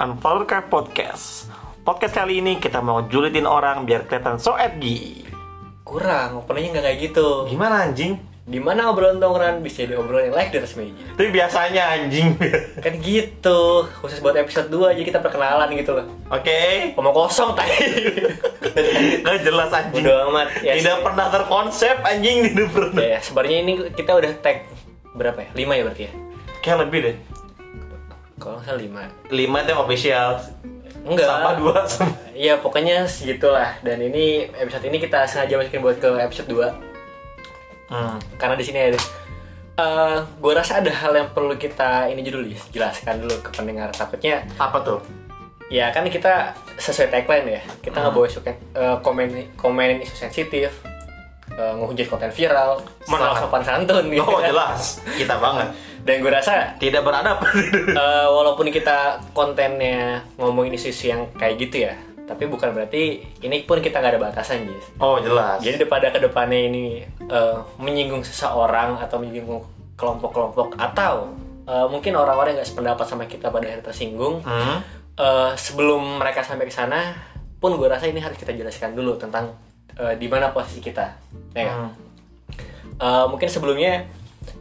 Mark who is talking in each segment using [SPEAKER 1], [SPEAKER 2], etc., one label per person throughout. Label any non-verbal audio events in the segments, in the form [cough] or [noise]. [SPEAKER 1] Unfollow Care Podcast. Podcast kali ini kita mau julitin orang biar kelihatan so edgy.
[SPEAKER 2] Kurang, openingnya nggak kayak gitu.
[SPEAKER 1] Gimana anjing?
[SPEAKER 2] Dimana obrolan tongkrongan bisa jadi obrolan yang like dan resmi gitu.
[SPEAKER 1] Tapi biasanya anjing. [laughs]
[SPEAKER 2] Kan gitu, khusus buat episode 2 aja kita perkenalan gitu loh.
[SPEAKER 1] Oke.
[SPEAKER 2] Ngomong kosong
[SPEAKER 1] [laughs]
[SPEAKER 2] tadi.
[SPEAKER 1] Nggak jelas anjing.
[SPEAKER 2] Bodo amat. Ya,
[SPEAKER 1] Tidak
[SPEAKER 2] se-
[SPEAKER 1] pernah terkonsep anjing tidak pernah.
[SPEAKER 2] Ya, sebenarnya ini kita udah tag berapa ya? 5 ya berarti ya?
[SPEAKER 1] Kayak lebih deh.
[SPEAKER 2] Kalau nggak salah 5.
[SPEAKER 1] Lima itu yang official.
[SPEAKER 2] Enggak.
[SPEAKER 1] Sama dua.
[SPEAKER 2] Iya, pokoknya segitulah. Dan ini episode ini kita sengaja masukin buat ke episode 2
[SPEAKER 1] Hmm.
[SPEAKER 2] karena di sini ada eh gue rasa ada hal yang perlu kita ini dulu Lis. jelaskan dulu ke pendengar takutnya
[SPEAKER 1] Apa
[SPEAKER 2] [laughs]
[SPEAKER 1] tuh?
[SPEAKER 2] ya kan kita sesuai tagline ya kita nggak
[SPEAKER 1] Hmm.
[SPEAKER 2] boleh suka eh, komen komenin isu sensitif eh, ngehujat konten viral
[SPEAKER 1] Sangat.
[SPEAKER 2] menolak sopan santun gitu
[SPEAKER 1] Oh
[SPEAKER 2] kan.
[SPEAKER 1] jelas. Kita banget.
[SPEAKER 2] dan gue rasa
[SPEAKER 1] Tidak beradab. [laughs]
[SPEAKER 2] eh, walaupun kita kontennya ngomongin isu-isu yang kayak gitu ya tapi bukan berarti ini pun kita nggak ada batasan Jis
[SPEAKER 1] oh jelas.
[SPEAKER 2] Jadi daripada kedepannya ini eh, menyinggung seseorang atau menyinggung kelompok-kelompok atau eh, mungkin orang-orang yang nggak sependapat sama kita pada akhirnya tersinggung,
[SPEAKER 1] Hmm.
[SPEAKER 2] eh, sebelum mereka sampai ke sana pun gue rasa ini harus kita jelaskan dulu tentang eh, di mana posisi kita. Ya nggak?
[SPEAKER 1] Hmm.
[SPEAKER 2] Eh, mungkin sebelumnya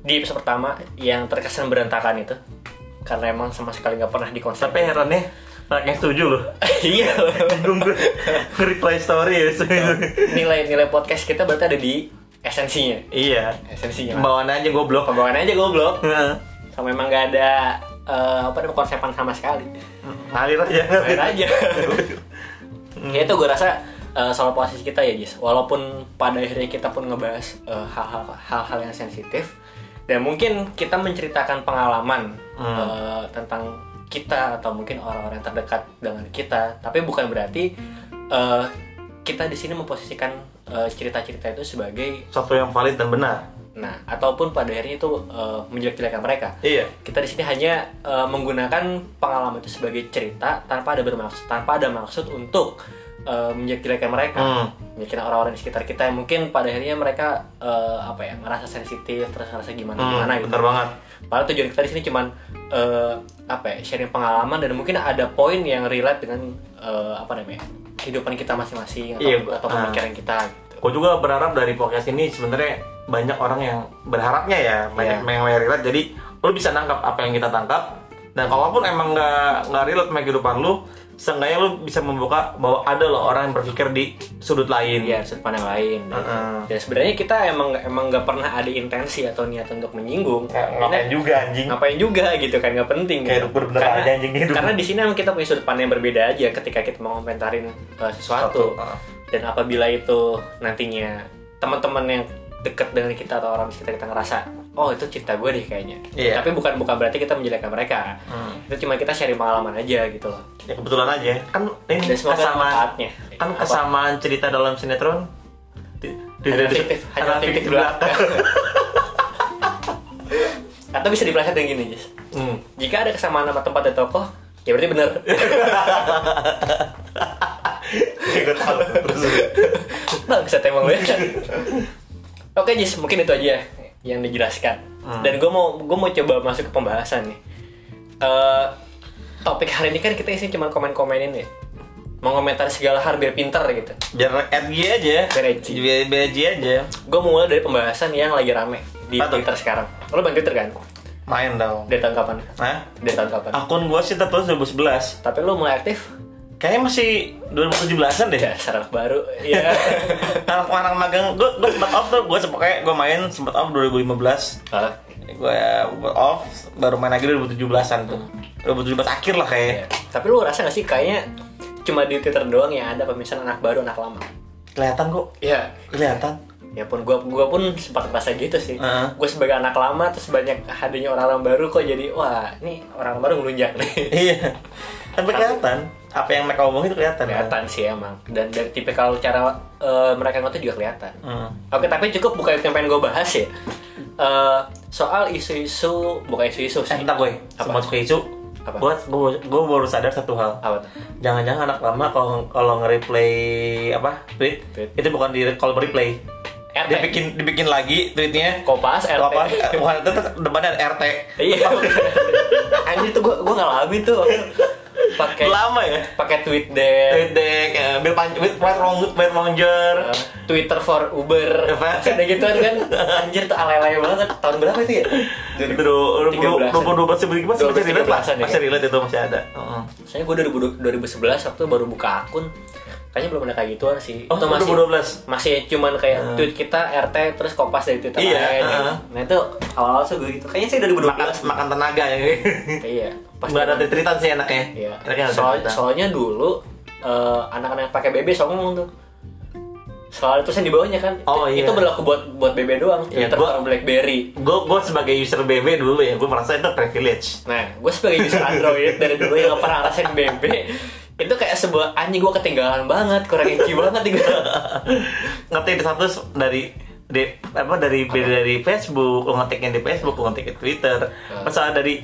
[SPEAKER 2] di episode pertama yang terkesan berantakan itu karena emang sama sekali nggak pernah dikonsep.
[SPEAKER 1] Tapi herannya banyak yang Nah, setuju loh.
[SPEAKER 2] [laughs] iya.
[SPEAKER 1] Bingung gue nge-reply story ya.
[SPEAKER 2] Nilai-nilai podcast kita berarti ada di esensinya.
[SPEAKER 1] iya.
[SPEAKER 2] Esensinya.
[SPEAKER 1] Bawaan aja goblok.
[SPEAKER 2] Pembawaan aja goblok.
[SPEAKER 1] Heeh.
[SPEAKER 2] sama memang nggak ada eh, apa namanya konsepan sama sekali
[SPEAKER 1] Ngalir aja.
[SPEAKER 2] main aja ya itu gue rasa eh, soal posisi kita ya Jis walaupun pada akhirnya kita pun ngebahas eh, hal-hal hal-hal yang sensitif dan mungkin kita menceritakan pengalaman eh, tentang kita atau mungkin orang-orang yang terdekat dengan kita tapi bukan berarti eh, kita di sini memposisikan eh, cerita-cerita itu sebagai
[SPEAKER 1] Satu yang valid dan benar.
[SPEAKER 2] nah ataupun pada akhirnya itu eh, menjelek-jelekan mereka
[SPEAKER 1] Iya.
[SPEAKER 2] kita di sini hanya eh, menggunakan pengalaman itu sebagai cerita tanpa ada bermaksud tanpa ada maksud untuk eh, menjelek-jelekan mereka
[SPEAKER 1] Hmm.
[SPEAKER 2] Menjelekin orang-orang di sekitar kita yang mungkin pada akhirnya mereka eh, apa ya merasa sensitif terus merasa gimana
[SPEAKER 1] Hmm,
[SPEAKER 2] gimana gitu
[SPEAKER 1] bener banget.
[SPEAKER 2] padahal tujuan kita di sini cuman eh, apa ya sharing pengalaman dan mungkin ada poin yang relate dengan eh, apa namanya kehidupan kita masing-masing atau,
[SPEAKER 1] Iya, gua-
[SPEAKER 2] atau
[SPEAKER 1] ah.
[SPEAKER 2] pemikiran kita gitu
[SPEAKER 1] Gue juga berharap dari podcast ini sebenarnya banyak orang yang berharapnya ya banyak
[SPEAKER 2] Iya.
[SPEAKER 1] yang relate. Jadi lu bisa nangkap apa yang kita tangkap. Dan kalaupun emang nggak nggak relate sama kehidupan lu, seenggaknya lu bisa membuka bahwa ada loh orang yang berpikir di sudut lain.
[SPEAKER 2] Iya, sudut pandang lain.
[SPEAKER 1] Heeh.
[SPEAKER 2] Dan sebenarnya kita emang emang nggak pernah ada intensi atau niat untuk menyinggung.
[SPEAKER 1] Nggak- ngapain
[SPEAKER 2] Karena-
[SPEAKER 1] juga anjing.
[SPEAKER 2] ngapain juga gitu kan nggak
[SPEAKER 1] Kayak
[SPEAKER 2] penting. gitu.
[SPEAKER 1] hidup bener-bener
[SPEAKER 2] Karena-
[SPEAKER 1] aja anjing hidup.
[SPEAKER 2] Karena di sini emang kita punya sudut pandang yang berbeda aja ketika kita mau komentarin uh, sesuatu.
[SPEAKER 1] Satu, heeh.
[SPEAKER 2] Dan apabila itu nantinya teman-teman yang deket dengan kita atau orang di sekitar kita ngerasa, oh itu cerita gue deh kayaknya.
[SPEAKER 1] Iya.
[SPEAKER 2] Tapi bukan bukan berarti kita menjelekkan mereka.
[SPEAKER 1] Hmm.
[SPEAKER 2] Itu cuma kita sharing pengalaman aja gitu loh.
[SPEAKER 1] Ya kebetulan aja. Kan ini
[SPEAKER 2] Dan semoga ada
[SPEAKER 1] kesamaan
[SPEAKER 2] manfaatnya.
[SPEAKER 1] kan
[SPEAKER 2] Apa?
[SPEAKER 1] kesamaan cerita dalam sinetron di- di-
[SPEAKER 2] Hanya
[SPEAKER 1] di-
[SPEAKER 2] fiktif, hanya
[SPEAKER 1] hanya
[SPEAKER 2] fiktif
[SPEAKER 1] fiktif belaka.
[SPEAKER 2] [laughs] Atau bisa dipelesetin gini, Jis. [laughs]
[SPEAKER 1] Hmm.
[SPEAKER 2] Jika ada kesamaan nama tempat dan tokoh, ya berarti benar.
[SPEAKER 1] Ya, gua tahu. Terus.
[SPEAKER 2] Bang, bisa
[SPEAKER 1] [laughs]
[SPEAKER 2] emang gue. Oke, Jis, mungkin itu aja yang dijelaskan.
[SPEAKER 1] Hmm.
[SPEAKER 2] Dan gue mau gue mau coba masuk ke pembahasan nih. Eh, topik hari ini kan kita isinya cuma komen-komenin ya. Mau komentar segala hal biar pintar gitu.
[SPEAKER 1] Biar FG aja.
[SPEAKER 2] Biar edgy.
[SPEAKER 1] Biar biar edgy aja.
[SPEAKER 2] Gue mau mulai dari pembahasan yang lagi rame di
[SPEAKER 1] Apa tuh?
[SPEAKER 2] Twitter sekarang. Lo bang Twitter kan?
[SPEAKER 1] Main dong.
[SPEAKER 2] Dari tahun kapan?
[SPEAKER 1] Hah?
[SPEAKER 2] Dari tahun kapan?
[SPEAKER 1] Akun gua sih tertulis 2011.
[SPEAKER 2] Tapi lo mulai aktif?
[SPEAKER 1] Kayaknya masih 2017-an deh. [laughs]
[SPEAKER 2] Ya, anak baru. Iya.
[SPEAKER 1] Anak-anak magang, gua, gua sempet off tuh, gua sempet kayak gua main sempet off 2015
[SPEAKER 2] Ah,
[SPEAKER 1] Gua ya, off, baru main lagi 2017-an tuh 2017 akhir lah kayak
[SPEAKER 2] iya. Tapi lo rasa gak sih kayaknya cuma di Twitter doang yang ada pemisahan anak baru anak lama?
[SPEAKER 1] Kelihatan kok,
[SPEAKER 2] Iya.
[SPEAKER 1] kelihatan
[SPEAKER 2] ya pun gua gua pun sempat ngerasa gitu sih
[SPEAKER 1] Heeh.
[SPEAKER 2] gue sebagai anak lama terus banyak hadirnya orang-orang baru kok jadi wah ini orang baru ngelunjak nih
[SPEAKER 1] Iya. Tapi kelihatan apa yang mereka omongin itu kelihatan.
[SPEAKER 2] kelihatan sih emang dan dari tipikal cara eh, mereka ngotot juga kelihatan
[SPEAKER 1] Hmm.
[SPEAKER 2] oke tapi cukup bukan itu yang pengen gue bahas ya Eh, soal isu-isu bukan isu-isu
[SPEAKER 1] Eh,
[SPEAKER 2] sih
[SPEAKER 1] entar gue,
[SPEAKER 2] Apa?
[SPEAKER 1] semua suka isu.
[SPEAKER 2] Apa?
[SPEAKER 1] Gue, gue, gue baru sadar satu hal.
[SPEAKER 2] apa tuh?
[SPEAKER 1] Jangan-jangan anak lama kalau kalau nge-replay apa tweet,
[SPEAKER 2] Tweet.
[SPEAKER 1] itu bukan di call replay.
[SPEAKER 2] RT
[SPEAKER 1] Dibikin dibikin lagi tweetnya.
[SPEAKER 2] kopas RT
[SPEAKER 1] Apa? eh, Bukan [laughs] itu tetap depannya ada RT.
[SPEAKER 2] iya anjir tuh gue gue ngalamin tuh pakai
[SPEAKER 1] lama ya
[SPEAKER 2] pakai tweet deh
[SPEAKER 1] tweet deck ya, biar panjang biar long biar longer
[SPEAKER 2] Ah. Twitter for Uber
[SPEAKER 1] Apa?
[SPEAKER 2] kayak gituan kan anjir tuh alay-alay banget tahun berapa itu ya
[SPEAKER 1] itu dua puluh
[SPEAKER 2] 13-an.
[SPEAKER 1] dua puluh sih masih masih
[SPEAKER 2] 12-an,
[SPEAKER 1] relate lah
[SPEAKER 2] 13-an ya.
[SPEAKER 1] masih relate itu masih ada Heeh.
[SPEAKER 2] Soalnya gue 2011 waktu baru buka akun Kayaknya belum ada kayak gituan sih
[SPEAKER 1] oh
[SPEAKER 2] Itu masih
[SPEAKER 1] 2012
[SPEAKER 2] masih cuman kayak tweet kita RT terus kopas dari Twitter
[SPEAKER 1] Ah. Iya,
[SPEAKER 2] lain
[SPEAKER 1] heeh.
[SPEAKER 2] gitu. Nah itu awal-awal tuh gue gitu Kayaknya sih
[SPEAKER 1] makan
[SPEAKER 2] 2012
[SPEAKER 1] makan tenaga [laughs] ya
[SPEAKER 2] Iya pas
[SPEAKER 1] nggak ada
[SPEAKER 2] zaman-
[SPEAKER 1] cerita sih enaknya
[SPEAKER 2] Iya
[SPEAKER 1] enaknya ada
[SPEAKER 2] Soal-
[SPEAKER 1] cerita
[SPEAKER 2] Soalnya dulu eh, anak-anak yang pakai BB sok ngomong tuh Soal terus yang di bawahnya kan
[SPEAKER 1] Oh,
[SPEAKER 2] itu,
[SPEAKER 1] iya.
[SPEAKER 2] itu berlaku buat buat BB doang
[SPEAKER 1] Iya,
[SPEAKER 2] Twitter
[SPEAKER 1] gua-
[SPEAKER 2] for Blackberry
[SPEAKER 1] gue gue sebagai user BB dulu ya gue merasa itu [laughs] privilege
[SPEAKER 2] Nah, gue sebagai user
[SPEAKER 1] [laughs]
[SPEAKER 2] Android dari dulu yang gak pernah ngerasain BB itu kayak sebuah anjing gue ketinggalan banget, kurang
[SPEAKER 1] [laughs]
[SPEAKER 2] enci banget gitu. tinggal.
[SPEAKER 1] ngetik di status dari di, apa dari dari Facebook lo ngetiknya di Facebook lo ngetiknya di Twitter masa dari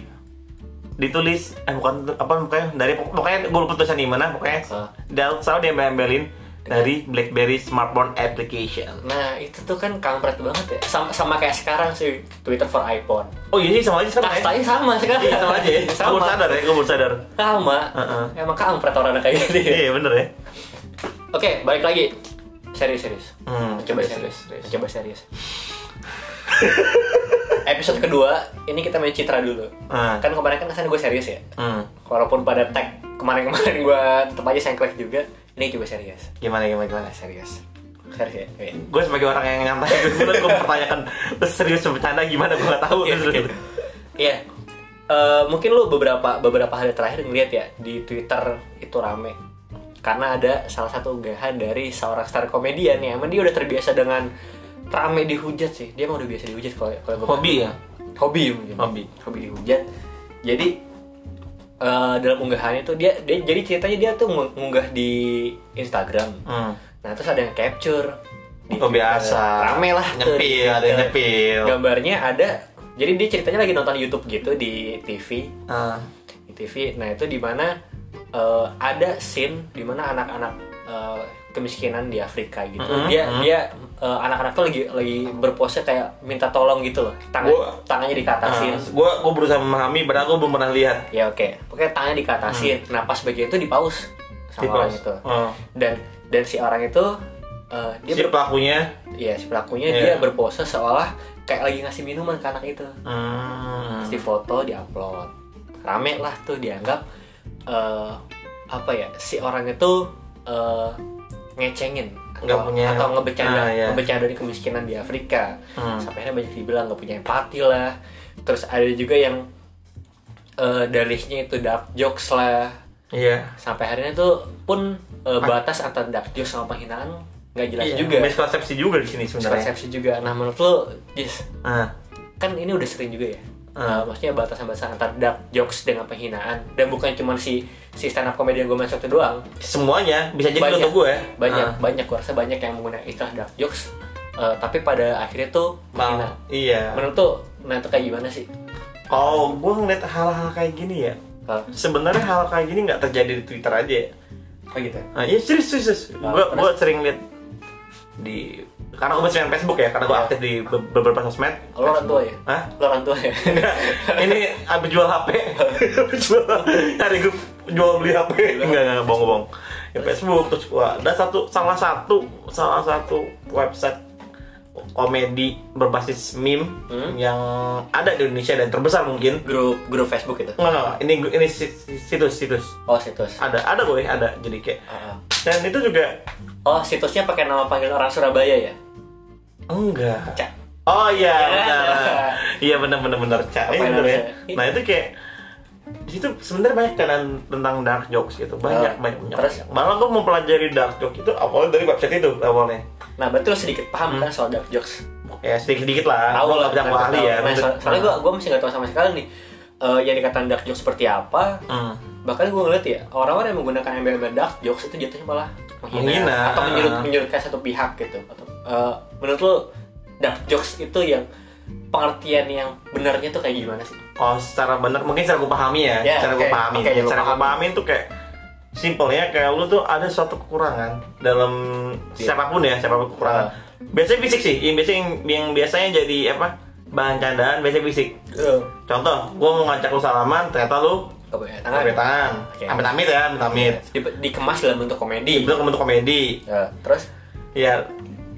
[SPEAKER 1] ditulis eh bukan apa pokoknya dari pokoknya gue lupa tulisan di mana pokoknya
[SPEAKER 2] Ah.
[SPEAKER 1] dia selalu dia embel-embelin dari BlackBerry smartphone application
[SPEAKER 2] Nah, itu tuh kan kampret banget ya. Sama, sama kayak sekarang sih Twitter for iPhone.
[SPEAKER 1] oh iya sih sama aja sama ya
[SPEAKER 2] Kastanya sama sekarang.
[SPEAKER 1] Iya, sama aja ya gue
[SPEAKER 2] [laughs] Sama.
[SPEAKER 1] baru sadar ya gue baru sadar
[SPEAKER 2] Sama.
[SPEAKER 1] Heeh.
[SPEAKER 2] Emang kampret orang kayak gitu. ya.
[SPEAKER 1] iya bener ya
[SPEAKER 2] Oke, balik lagi. Serius, serius.
[SPEAKER 1] Hmm,
[SPEAKER 2] Coba
[SPEAKER 1] serius, serius.
[SPEAKER 2] serius. Coba
[SPEAKER 1] [laughs]
[SPEAKER 2] serius. Episode kedua, ini kita main citra dulu.
[SPEAKER 1] Ah.
[SPEAKER 2] Kan kemarin kan kesan gue serius ya.
[SPEAKER 1] hmm.
[SPEAKER 2] walaupun pada tag kemarin-kemarin gue tetap aja sengklek juga ini juga serius
[SPEAKER 1] gimana gimana gimana
[SPEAKER 2] nah, serius serius ya Oke.
[SPEAKER 1] gue sebagai orang yang nyantai gue gue mempertanyakan terus serius bercanda gimana gue gak tahu
[SPEAKER 2] Iya, iya. iya Eh, mungkin lu beberapa beberapa hari terakhir ngeliat ya di Twitter itu rame karena ada salah satu unggahan dari seorang star komedian ya emang dia udah terbiasa dengan rame dihujat sih dia emang udah biasa dihujat kalau kalau gua-
[SPEAKER 1] hobi ya
[SPEAKER 2] hobi mungkin.
[SPEAKER 1] Hobi.
[SPEAKER 2] hobi dihujat jadi eh, dalam unggahannya tuh dia, dia jadi ceritanya dia tuh ngung- ngunggah di Instagram
[SPEAKER 1] hmm.
[SPEAKER 2] Nah terus ada yang capture Di
[SPEAKER 1] Oh, biasa.
[SPEAKER 2] Rame lah tuh di
[SPEAKER 1] Nyepil,
[SPEAKER 2] Twitter.
[SPEAKER 1] ada yang nyepil.
[SPEAKER 2] Gambarnya ada Jadi dia ceritanya lagi nonton Youtube gitu di TV
[SPEAKER 1] Ah.
[SPEAKER 2] Di TV Nah itu dimana eh, Ada scene dimana anak-anak eh, kemiskinan di Afrika gitu
[SPEAKER 1] Mm-mm,
[SPEAKER 2] Dia
[SPEAKER 1] mm.
[SPEAKER 2] dia eh, anak-anak tuh lagi lagi berpose kayak minta tolong gitu loh Tangan,
[SPEAKER 1] Gua-
[SPEAKER 2] Tangannya dikatasin
[SPEAKER 1] gue gue berusaha memahami padahal gue belum pernah lihat
[SPEAKER 2] Ya oke Pokoknya tangannya dikatasin Nah pas bagian itu dipaus Sama
[SPEAKER 1] Mm.
[SPEAKER 2] orang
[SPEAKER 1] Dipaus.
[SPEAKER 2] itu
[SPEAKER 1] Oh.
[SPEAKER 2] Dan dan si orang itu eh, dia
[SPEAKER 1] si
[SPEAKER 2] ber-
[SPEAKER 1] pelakunya
[SPEAKER 2] Iya, si pelakunya
[SPEAKER 1] Iya.
[SPEAKER 2] dia berpose seolah kayak lagi ngasih minuman ke anak itu.
[SPEAKER 1] Hmm.
[SPEAKER 2] Terus di foto, diupload. Rame lah tuh dianggap eh, apa ya? Si orang itu eh, ngecengin atau,
[SPEAKER 1] Nggak punya-
[SPEAKER 2] atau ngebecanda,
[SPEAKER 1] Ah, iya.
[SPEAKER 2] ngebecanda di kemiskinan di Afrika.
[SPEAKER 1] Hmm.
[SPEAKER 2] Sampai akhirnya banyak dibilang nggak punya empati lah. Terus ada juga yang eh dalihnya itu dark jokes lah.
[SPEAKER 1] iya
[SPEAKER 2] Sampai akhirnya tuh pun eh, batas antara dark jokes sama penghinaan nggak jelas
[SPEAKER 1] Ah. Iya,
[SPEAKER 2] juga
[SPEAKER 1] miskonsepsi juga di sini sebenarnya
[SPEAKER 2] persepsi juga. Nah menurut lo, Jis,
[SPEAKER 1] ah.
[SPEAKER 2] kan ini udah sering juga ya.
[SPEAKER 1] Hmm.
[SPEAKER 2] Uh, maksudnya batasan-batasan antar dark jokes dengan penghinaan dan bukan cuma si si stand up komedian gue masuk itu doang.
[SPEAKER 1] semuanya bisa jadi
[SPEAKER 2] Banyak.
[SPEAKER 1] untuk gue
[SPEAKER 2] Banyak
[SPEAKER 1] ah.
[SPEAKER 2] banyak gue rasa banyak yang menggunakan istilah dark jokes. uh, tapi pada akhirnya tuh
[SPEAKER 1] Mal-
[SPEAKER 2] menghina.
[SPEAKER 1] iya
[SPEAKER 2] Menurut tuh, nah itu kayak gimana sih?
[SPEAKER 1] kalau gue ngeliat hal-hal kayak gini ya
[SPEAKER 2] Kalau
[SPEAKER 1] sebenarnya hal kayak gini nggak terjadi di twitter aja ya
[SPEAKER 2] oh, gitu.
[SPEAKER 1] Nah, iya serius serius. serius.
[SPEAKER 2] Nah,
[SPEAKER 1] Gua
[SPEAKER 2] terus?
[SPEAKER 1] gua sering lihat di karena gue sering main Facebook ya, karena gue
[SPEAKER 2] Iya.
[SPEAKER 1] aktif di be- beberapa sosmed.
[SPEAKER 2] Lo orang tua ya?
[SPEAKER 1] Hah?
[SPEAKER 2] Lo orang tua ya?
[SPEAKER 1] Ini abis jual HP, [laughs] Abis jual cari grup jual beli HP.
[SPEAKER 2] Iya.
[SPEAKER 1] Enggak enggak bohong bohong. Ya, Facebook terus gua ada satu salah satu salah satu website komedi berbasis meme
[SPEAKER 2] Hmm?
[SPEAKER 1] yang ada di Indonesia dan terbesar mungkin.
[SPEAKER 2] [laughs] grup grup Facebook gitu? itu?
[SPEAKER 1] Enggak enggak, ini ini situs situs
[SPEAKER 2] Oh situs.
[SPEAKER 1] ada ada gue ada jadi kayak
[SPEAKER 2] Uh,
[SPEAKER 1] dan itu juga
[SPEAKER 2] Oh situsnya pakai nama panggil orang Surabaya ya?
[SPEAKER 1] enggak
[SPEAKER 2] Cak.
[SPEAKER 1] Oh iya,
[SPEAKER 2] Ya.
[SPEAKER 1] benar. Iya benar benar benar Cak. Iya,
[SPEAKER 2] Apa yang
[SPEAKER 1] benar ya.
[SPEAKER 2] harusnya?
[SPEAKER 1] Nah, itu kayak di situ sebenarnya banyak kan tentang dark jokes gitu. Banyak
[SPEAKER 2] Oh,
[SPEAKER 1] banyak banyak.
[SPEAKER 2] terus?
[SPEAKER 1] banyak. Malah gue mempelajari dark jokes itu awalnya dari website itu awalnya.
[SPEAKER 2] Nah berarti lo sedikit paham kan soal dark jokes?
[SPEAKER 1] Ya sedikit-sedikit lah. Gue
[SPEAKER 2] tahu lah
[SPEAKER 1] nggak bilang gue ahli ya.
[SPEAKER 2] Nah, so-
[SPEAKER 1] Maksud-
[SPEAKER 2] soalnya gue gue masih nggak tahu sama sekali nih eh, yang dikatakan dark jokes seperti apa
[SPEAKER 1] Hmm.
[SPEAKER 2] bahkan gue ngeliat ya orang-orang yang menggunakan embel-embel dark jokes itu jatuhnya malah menghina,
[SPEAKER 1] Menghina,
[SPEAKER 2] atau
[SPEAKER 1] ah.
[SPEAKER 2] menyurut menyurutkan satu pihak gitu atau eh, menurut lo dark jokes itu yang pengertian yang benarnya tuh kayak gimana sih
[SPEAKER 1] Oh, secara benar mungkin secara gue pahami ya.
[SPEAKER 2] Ya,
[SPEAKER 1] cara gue
[SPEAKER 2] oke.
[SPEAKER 1] pahami.
[SPEAKER 2] Oke, yang lu
[SPEAKER 1] cara gue
[SPEAKER 2] pahami.
[SPEAKER 1] pahamin tuh kayak simpelnya kayak lu tuh ada suatu kekurangan dalam
[SPEAKER 2] Iya.
[SPEAKER 1] siapapun ya, siapapun kekurangan.
[SPEAKER 2] Ah.
[SPEAKER 1] Biasanya fisik sih, yang biasanya yang biasanya jadi apa? ya? bahan candaan biasanya fisik. Contoh, gue mau ngajak lu salaman, ternyata lu
[SPEAKER 2] KBR tangan.
[SPEAKER 1] Sampai tangan.
[SPEAKER 2] Ah. Oke. Iya.
[SPEAKER 1] Amit-amit ya, amit-amit.
[SPEAKER 2] ya? Di- dikemas dalam bentuk komedi.
[SPEAKER 1] Itu bentuk komedi.
[SPEAKER 2] Ya, terus
[SPEAKER 1] Ya,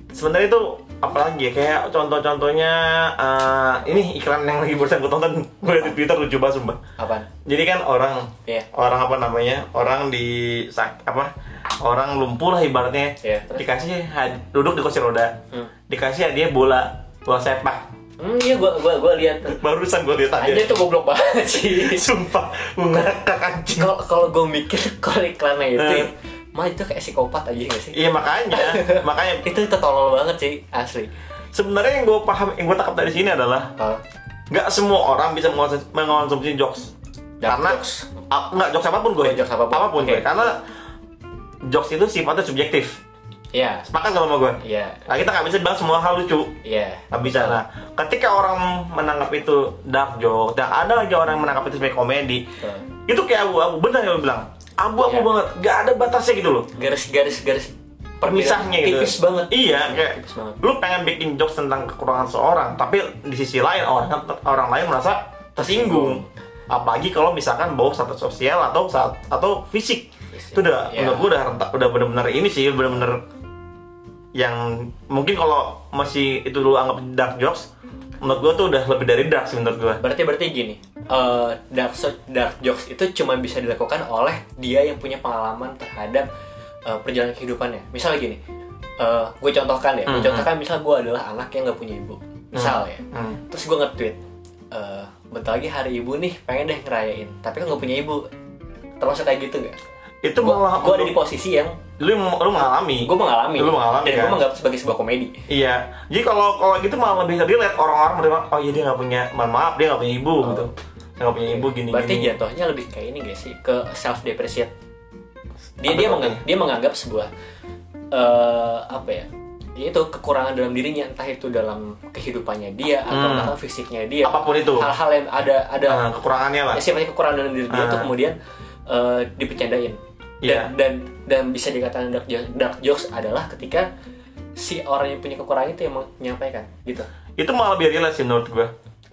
[SPEAKER 1] sebenarnya itu apalagi ya kayak contoh-contohnya eh, ini iklan yang lagi barusan gue tonton gue liat di Twitter lucu banget sumpah.
[SPEAKER 2] apa?
[SPEAKER 1] Jadi kan orang
[SPEAKER 2] Iya.
[SPEAKER 1] orang apa namanya? Orang di sak- apa? Orang lumpuh lah ibaratnya.
[SPEAKER 2] Iya, terus?
[SPEAKER 1] Dikasih had- duduk di kursi roda.
[SPEAKER 2] Hmm.
[SPEAKER 1] Dikasih hadiah bola bola sepak.
[SPEAKER 2] Hmm, iya gua gua gua lihat.
[SPEAKER 1] Barusan gue lihat
[SPEAKER 2] Aja
[SPEAKER 1] aja.
[SPEAKER 2] itu goblok banget sih.
[SPEAKER 1] [laughs] Sumpah, gue ngakak anjing.
[SPEAKER 2] Kalau kalau gua mikir [laughs] kalau iklannya itu,
[SPEAKER 1] Iya. Eh.
[SPEAKER 2] mah itu kayak psikopat aja gak sih?
[SPEAKER 1] Iya
[SPEAKER 2] [laughs]
[SPEAKER 1] makanya, makanya
[SPEAKER 2] Itu itu tolol banget sih asli.
[SPEAKER 1] sebenarnya yang gue paham, yang gue tangkap dari sini adalah
[SPEAKER 2] Kalau
[SPEAKER 1] nggak semua orang bisa mengonsum- mengonsumsi jokes.
[SPEAKER 2] Dark
[SPEAKER 1] karena
[SPEAKER 2] jokes.
[SPEAKER 1] ap- nggak jokes apapun gue,
[SPEAKER 2] Oh, jokes apapun. Oke.
[SPEAKER 1] gue. Karena jokes itu sifatnya subjektif.
[SPEAKER 2] Iya,
[SPEAKER 1] Sepakat nggak sama gue?
[SPEAKER 2] iya,
[SPEAKER 1] Nah, kita nggak bisa bilang semua hal lucu.
[SPEAKER 2] iya.
[SPEAKER 1] Nggak bisa. Nah, ketika orang menangkap itu dark joke, dan ada lagi orang yang menangkap itu sebagai komedi,
[SPEAKER 2] Betul.
[SPEAKER 1] itu kayak abu-abu. Benar yang lu bilang, abu-abu
[SPEAKER 2] Iya.
[SPEAKER 1] banget. Gak ada batasnya gitu loh.
[SPEAKER 2] Garis-garis garis perbedaan
[SPEAKER 1] permisahnya gitu.
[SPEAKER 2] tipis banget.
[SPEAKER 1] Iya, kayak
[SPEAKER 2] tipis banget.
[SPEAKER 1] lu pengen bikin jokes tentang kekurangan seorang, tapi di sisi lain orang orang lain merasa tersinggung. Apalagi kalau misalkan bawa status sosial atau saat atau fisik.
[SPEAKER 2] Fisik,
[SPEAKER 1] Itu udah
[SPEAKER 2] iya.
[SPEAKER 1] menurut gua udah rentak- udah benar-benar ini sih benar-benar yang mungkin kalau masih itu dulu anggap dark jokes, menurut gua tuh udah lebih dari dark sih menurut gua.
[SPEAKER 2] Berarti berarti gini, eh, dark so- dark jokes itu cuma bisa dilakukan oleh dia yang punya pengalaman terhadap eh, perjalanan kehidupannya. Misal gini, gue contohkan ya,
[SPEAKER 1] Hmm,
[SPEAKER 2] gue contohkan misal gue adalah anak yang nggak punya ibu, misal ya.
[SPEAKER 1] Hmm.
[SPEAKER 2] Terus gue nge-tweet, eh, bentar lagi hari ibu nih, pengen deh ngerayain, tapi kan nggak punya ibu. Termasuk kayak gitu nggak?
[SPEAKER 1] Itu malah
[SPEAKER 2] Gue ada di posisi yang
[SPEAKER 1] lu, lu mengalami.
[SPEAKER 2] gue mengalami,
[SPEAKER 1] Lu mengalami,
[SPEAKER 2] dan gue
[SPEAKER 1] kan?
[SPEAKER 2] menganggap sebagai sebuah komedi.
[SPEAKER 1] Iya, jadi kalau kalau gitu malah lebih relate orang-orang menerima, oh iya dia nggak punya, mohon maaf dia nggak punya ibu gitu, dia nggak punya ibu gini
[SPEAKER 2] Oh. Iya. Berarti
[SPEAKER 1] gini.
[SPEAKER 2] jatuhnya lebih kayak ini gak sih ke self depreciate.
[SPEAKER 1] Apa
[SPEAKER 2] Dia dia
[SPEAKER 1] tuh?
[SPEAKER 2] menganggap, dia menganggap sebuah eh apa ya? ya Itu kekurangan dalam dirinya entah itu dalam kehidupannya dia atau
[SPEAKER 1] Hmm.
[SPEAKER 2] bahkan fisiknya dia.
[SPEAKER 1] Apapun itu.
[SPEAKER 2] Hal-hal yang ada Iya. ada
[SPEAKER 1] Nah, kekurangannya lah.
[SPEAKER 2] ya, sifatnya kekurangan dalam diri dia
[SPEAKER 1] Ah.
[SPEAKER 2] tuh kemudian eh, dipercandain. Dan,
[SPEAKER 1] Iya.
[SPEAKER 2] dan dan bisa dikatakan dark jokes, dark jokes adalah ketika si orang yang punya kekurangan itu yang menyampaikan gitu.
[SPEAKER 1] Itu malah lebih relate sih menurut gua,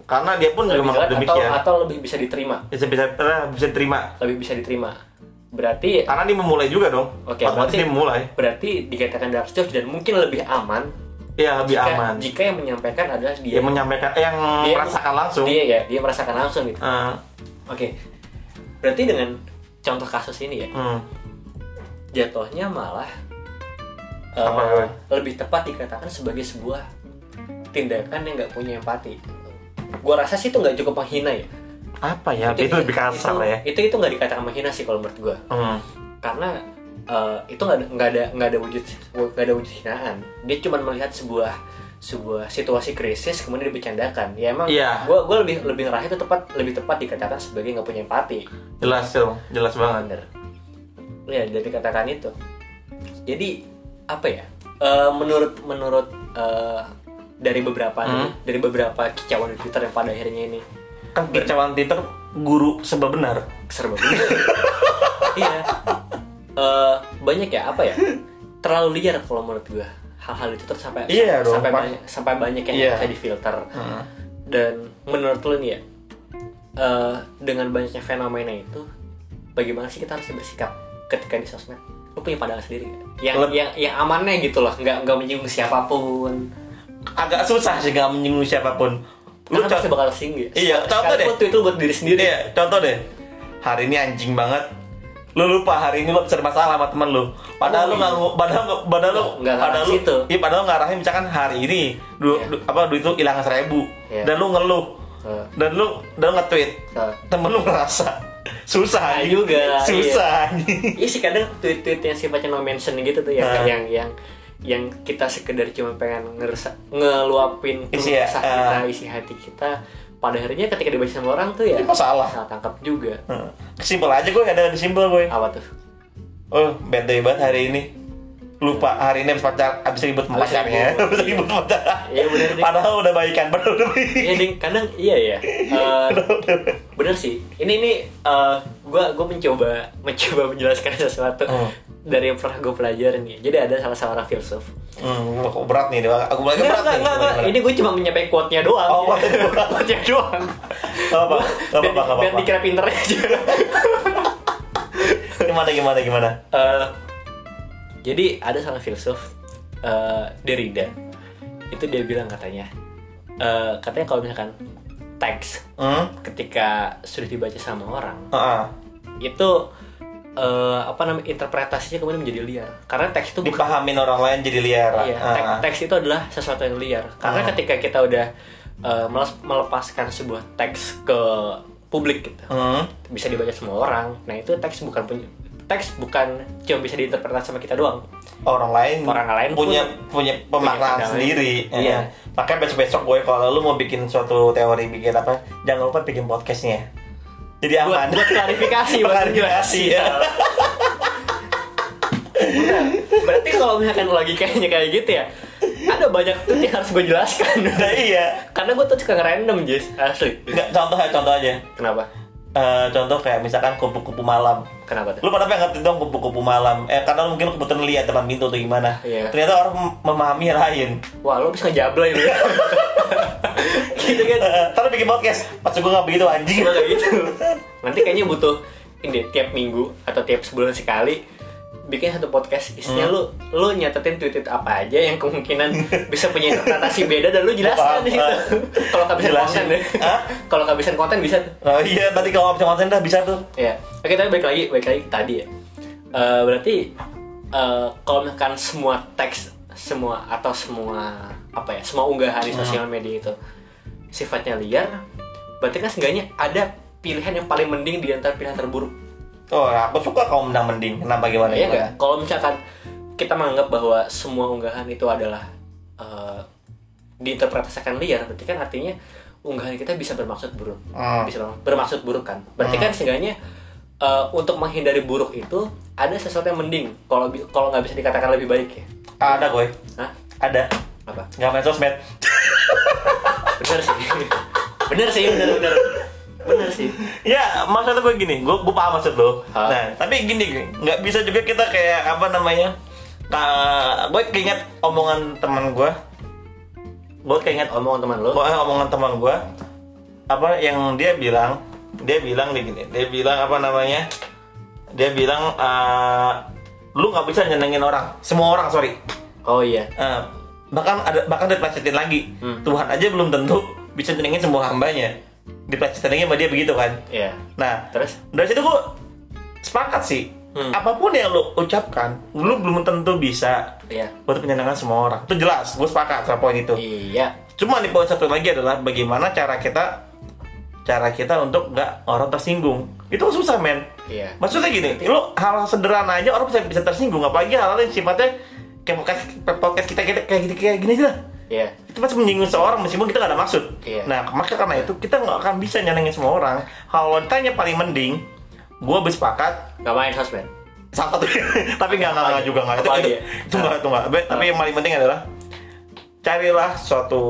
[SPEAKER 1] karena dia pun juga
[SPEAKER 2] Lebih
[SPEAKER 1] menganggap
[SPEAKER 2] jelas atau
[SPEAKER 1] demikian.
[SPEAKER 2] atau lebih bisa diterima.
[SPEAKER 1] Bisa bisa eh, bisa terima,
[SPEAKER 2] lebih bisa diterima. Berarti
[SPEAKER 1] karena dia memulai juga dong.
[SPEAKER 2] Oke,
[SPEAKER 1] Otomatis
[SPEAKER 2] berarti-
[SPEAKER 1] dia memulai.
[SPEAKER 2] berarti dikatakan dark jokes dan mungkin lebih aman
[SPEAKER 1] Iya lebih
[SPEAKER 2] jika,
[SPEAKER 1] aman.
[SPEAKER 2] jika yang menyampaikan adalah dia
[SPEAKER 1] Dia menyampaikan, eh, yang
[SPEAKER 2] Dia-
[SPEAKER 1] merasakan langsung.
[SPEAKER 2] dia ya dia merasakan langsung gitu.
[SPEAKER 1] Eh,
[SPEAKER 2] Oke. Berarti dengan contoh kasus ini ya
[SPEAKER 1] hmm.
[SPEAKER 2] jatuhnya malah eh,
[SPEAKER 1] Apa, Roy?
[SPEAKER 2] lebih tepat dikatakan sebagai sebuah tindakan yang nggak punya empati. Gua rasa sih itu nggak cukup menghina ya.
[SPEAKER 1] Apa ya? Itu, lebih kasar
[SPEAKER 2] itu,
[SPEAKER 1] lah ya.
[SPEAKER 2] Itu itu nggak dikatakan menghina sih kalau menurut gua.
[SPEAKER 1] Hmm.
[SPEAKER 2] karena eh, itu nggak ada nggak ada nggak ada wujud nggak ada wujud hinaan dia cuma melihat sebuah sebuah situasi krisis kemudian dibercandakan ya emang
[SPEAKER 1] Iya.
[SPEAKER 2] gua gua lebih lebih ngerasa itu tepat lebih tepat dikatakan sebagai nggak punya empati
[SPEAKER 1] Jelas dong, jelas banget.
[SPEAKER 2] bener ya jadi dikatakan itu jadi apa ya Eh, menurut menurut eh, dari beberapa
[SPEAKER 1] Hmm.
[SPEAKER 2] dari beberapa kicauan di Twitter yang pada akhirnya ini
[SPEAKER 1] Kan kecewaan Twitter guru sebab benar.
[SPEAKER 2] serba
[SPEAKER 1] [laughs]
[SPEAKER 2] benar. iya. Eh, banyak ya apa ya? Terlalu liar kalau menurut gua. Hal-hal itu terus sampai
[SPEAKER 1] Iya dong,
[SPEAKER 2] sampai
[SPEAKER 1] Pak.
[SPEAKER 2] banyak sampai banyak yang
[SPEAKER 1] Iya.
[SPEAKER 2] bisa difilter.
[SPEAKER 1] Hmm.
[SPEAKER 2] Dan menurut lu nih ya, eh, dengan banyaknya fenomena itu, bagaimana sih kita harus bersikap ketika di sosmed? Lu punya pandangan sendiri nggak? Yang
[SPEAKER 1] Leb-
[SPEAKER 2] yang yang amannya gitu loh, nggak nggak menyinggung siapapun.
[SPEAKER 1] Agak susah sih nggak menyinggung siapapun. Lu
[SPEAKER 2] Karena
[SPEAKER 1] co-
[SPEAKER 2] kan pasti bakal singgih.
[SPEAKER 1] Iya, contoh deh.
[SPEAKER 2] Sekalipun tweet lu buat diri sendiri.
[SPEAKER 1] Iya, contoh deh. Hari ini anjing banget. Lu lupa hari ini lu serba salah sama temen lu. Padahal
[SPEAKER 2] Oh,
[SPEAKER 1] lu nggak
[SPEAKER 2] iya.
[SPEAKER 1] ngu- padahal Oh, nggak- padahal lu
[SPEAKER 2] Nggak ngarah
[SPEAKER 1] padahal lu
[SPEAKER 2] situ.
[SPEAKER 1] Iya, padahal lu ngarahin misalkan hari ini du,
[SPEAKER 2] Iya.
[SPEAKER 1] du- apa duit lu hilang seribu
[SPEAKER 2] Iya.
[SPEAKER 1] dan lu ngeluh.
[SPEAKER 2] Eh,
[SPEAKER 1] Dan lu dan lu nge-tweet.
[SPEAKER 2] eh.
[SPEAKER 1] Temen lu ngerasa susah
[SPEAKER 2] Nah,
[SPEAKER 1] anjing.
[SPEAKER 2] juga,
[SPEAKER 1] Susah anjing.
[SPEAKER 2] Iya sih kadang tweet-tweet yang sifatnya no mention gitu tuh ya
[SPEAKER 1] Nah.
[SPEAKER 2] yang yang yang kita sekedar cuma pengen ngerasa ngeluapin
[SPEAKER 1] Isi
[SPEAKER 2] keluh
[SPEAKER 1] ya,
[SPEAKER 2] kesah
[SPEAKER 1] eh.
[SPEAKER 2] kita, isi hati kita. Pada akhirnya ketika dibaca sama orang tuh ya
[SPEAKER 1] Ini masalah.
[SPEAKER 2] salah tangkap juga.
[SPEAKER 1] Heeh. Simpel aja gue ada ada simpel gue.
[SPEAKER 2] Apa tuh?
[SPEAKER 1] Oh, bad day banget hari ini. Lupa hari ini habis pacar habis ribut sama
[SPEAKER 2] Habis
[SPEAKER 1] pacarnya. [laughs]
[SPEAKER 2] ribut,
[SPEAKER 1] Habis
[SPEAKER 2] iya.
[SPEAKER 1] ribut sama pacar.
[SPEAKER 2] Iya, bener, Dik.
[SPEAKER 1] Padahal udah baikan, padahal udah baikan.
[SPEAKER 2] Iya ding, kadang iya ya. Eh, [laughs] bener sih. Ini ini eh, gua gue mencoba mencoba menjelaskan sesuatu.
[SPEAKER 1] Hmm.
[SPEAKER 2] dari yang pernah gue pelajarin ya. Jadi ada salah seorang filsuf.
[SPEAKER 1] Hmm, aku berat nih, aku lagi berat
[SPEAKER 2] Enggak, enggak,
[SPEAKER 1] nih.
[SPEAKER 2] enggak, enggak. Ini gue cuma menyampaikan quote-nya doang. [laughs]
[SPEAKER 1] Oh, quote-nya doang.
[SPEAKER 2] quote-nya doang.
[SPEAKER 1] Gak apa-apa, gak
[SPEAKER 2] Biar-
[SPEAKER 1] apa-apa, gak
[SPEAKER 2] Biar
[SPEAKER 1] apa-apa.
[SPEAKER 2] dikira pinter aja. [laughs]
[SPEAKER 1] Gimana, gimana, gimana?
[SPEAKER 2] Eh, jadi ada seorang filsuf eh, Derrida. Itu dia bilang katanya. eh, katanya kalau misalkan teks
[SPEAKER 1] Hmm?
[SPEAKER 2] ketika sudah dibaca sama orang
[SPEAKER 1] Heeh.
[SPEAKER 2] itu eh, apa namanya interpretasinya kemudian menjadi liar karena teks itu bukan
[SPEAKER 1] Dipahamin orang lain jadi liar. Ah,
[SPEAKER 2] Iya,
[SPEAKER 1] Heeh.
[SPEAKER 2] tek- teks itu adalah sesuatu yang liar. Karena
[SPEAKER 1] Hmm.
[SPEAKER 2] ketika kita udah uh, meles- melepaskan sebuah teks ke publik gitu,
[SPEAKER 1] Hmm?
[SPEAKER 2] bisa dibaca semua orang. Nah, itu teks bukan punya teks bukan cuma bisa diinterpretasi sama kita doang.
[SPEAKER 1] Orang lain,
[SPEAKER 2] Orang lain
[SPEAKER 1] punya punya pemaknaan
[SPEAKER 2] pandangan.
[SPEAKER 1] sendiri.
[SPEAKER 2] Iya.
[SPEAKER 1] Iya. Makanya besok-besok gue kalau lu mau bikin suatu teori bikin apa, jangan lupa bikin podcastnya. Jadi
[SPEAKER 2] Buat,
[SPEAKER 1] aman. [laughs]
[SPEAKER 2] buat Iya. klarifikasi, buat
[SPEAKER 1] Klarifikasi,
[SPEAKER 2] penjelasan.
[SPEAKER 1] ya.
[SPEAKER 2] Benar. Berarti kalau misalkan logikanya kayak gitu ya, ada banyak tuh yang harus gue jelaskan.
[SPEAKER 1] [laughs]
[SPEAKER 2] [laughs]
[SPEAKER 1] Nah, iya.
[SPEAKER 2] Karena gue tuh suka ngerandom, Jis, asli.
[SPEAKER 1] Nggak, contoh aja, contoh aja.
[SPEAKER 2] Kenapa?
[SPEAKER 1] Eh, contoh kayak misalkan kupu-kupu malam.
[SPEAKER 2] Kenapa tuh?
[SPEAKER 1] Lu pada pengen ngerti dong kupu-kupu malam. Eh karena lu mungkin lu kebetulan lihat depan pintu atau gimana.
[SPEAKER 2] Iya.
[SPEAKER 1] Ternyata orang mem- memahami yang lain.
[SPEAKER 2] Wah, lo bisa ngejablay lu. ya. gitu kan.
[SPEAKER 1] [laughs] Terus bikin podcast. Maksud gua nggak begitu anjing.
[SPEAKER 2] Cuma kayak gitu. Nanti kayaknya butuh ini deh, tiap minggu atau tiap sebulan sekali bikin satu podcast isinya lu lu nyatetin tweet apa aja yang kemungkinan bisa punya interpretasi beda dan lu jelaskan
[SPEAKER 1] Apa-apa.
[SPEAKER 2] di situ. Kalau kehabisan
[SPEAKER 1] Jelasin.
[SPEAKER 2] konten ya. deh.
[SPEAKER 1] Hah?
[SPEAKER 2] Kalau kehabisan konten bisa tuh.
[SPEAKER 1] Oh iya, berarti kalau nggak bisa konten dah bisa tuh.
[SPEAKER 2] Ya. Oke, tapi balik lagi, balik lagi ke tadi ya. Eh, berarti eh, kalau misalkan semua teks semua atau semua apa ya, semua unggahan di sosial media itu sifatnya liar, berarti kan seenggaknya ada pilihan yang paling mending di antara pilihan terburuk.
[SPEAKER 1] Oh, aku suka kalau menang mending. Kenapa gimana?
[SPEAKER 2] Iya
[SPEAKER 1] gimana?
[SPEAKER 2] nggak? Kalau misalkan kita menganggap bahwa semua unggahan itu adalah eh, diinterpretasikan liar, berarti kan artinya unggahan kita bisa bermaksud buruk.
[SPEAKER 1] Hmm.
[SPEAKER 2] Bisa bermak- bermaksud buruk kan? Berarti kan seenggaknya eh, untuk menghindari buruk itu ada sesuatu yang mending. Kalau bi- kalau nggak bisa dikatakan lebih baik ya.
[SPEAKER 1] Ada gue.
[SPEAKER 2] Hah?
[SPEAKER 1] Ada.
[SPEAKER 2] Apa?
[SPEAKER 1] Nggak main sosmed.
[SPEAKER 2] Bener sih. [laughs] bener sih, bener bener. Bener sih.
[SPEAKER 1] Ya, maksud gue gini, gue, gue paham maksud lo.
[SPEAKER 2] Hah?
[SPEAKER 1] Nah, tapi gini, Gue, nggak bisa juga kita kayak apa namanya? Nah, gue keinget omongan teman gue. Gue keinget
[SPEAKER 2] Omong teman lo.
[SPEAKER 1] Pokoknya omongan teman gua apa yang dia bilang dia bilang dia gini dia bilang apa namanya dia bilang eh, lu nggak bisa nyenengin orang semua orang sorry
[SPEAKER 2] Oh iya.
[SPEAKER 1] Eh, bahkan ada bahkan diplesetin lagi
[SPEAKER 2] Hmm.
[SPEAKER 1] Tuhan aja belum tentu bisa nyenengin semua hambanya diplesetin sama dia begitu kan
[SPEAKER 2] Iya.
[SPEAKER 1] nah
[SPEAKER 2] Terus?
[SPEAKER 1] dari situ gue sepakat sih
[SPEAKER 2] Hmm.
[SPEAKER 1] apapun yang lu ucapkan lu belum tentu bisa
[SPEAKER 2] Iya.
[SPEAKER 1] buat menyenangkan semua orang itu jelas gue sepakat sama poin itu
[SPEAKER 2] Iya.
[SPEAKER 1] Cuma nih poin satu lagi adalah bagaimana cara kita cara kita untuk nggak orang tersinggung. Itu kan susah men.
[SPEAKER 2] Iya.
[SPEAKER 1] Maksudnya gini, lu hal sederhana aja orang bisa bisa tersinggung, apalagi hal-hal yang sifatnya kayak podcast, podcast kita, kita kayak gini kayak gini aja lah.
[SPEAKER 2] Iya.
[SPEAKER 1] Itu pasti menyinggung seorang meskipun kita gak ada maksud.
[SPEAKER 2] Iya.
[SPEAKER 1] Nah, maka karena itu kita nggak akan bisa nyenengin semua orang. Kalau ditanya paling mending, gua bersepakat
[SPEAKER 2] Gak main sosmed.
[SPEAKER 1] salah satu [laughs] tapi nggak nggak nggak juga nggak itu
[SPEAKER 2] Apa
[SPEAKER 1] itu
[SPEAKER 2] lagi ya?
[SPEAKER 1] itu nggak itu nggak. Tapi- tapi yang paling penting adalah carilah suatu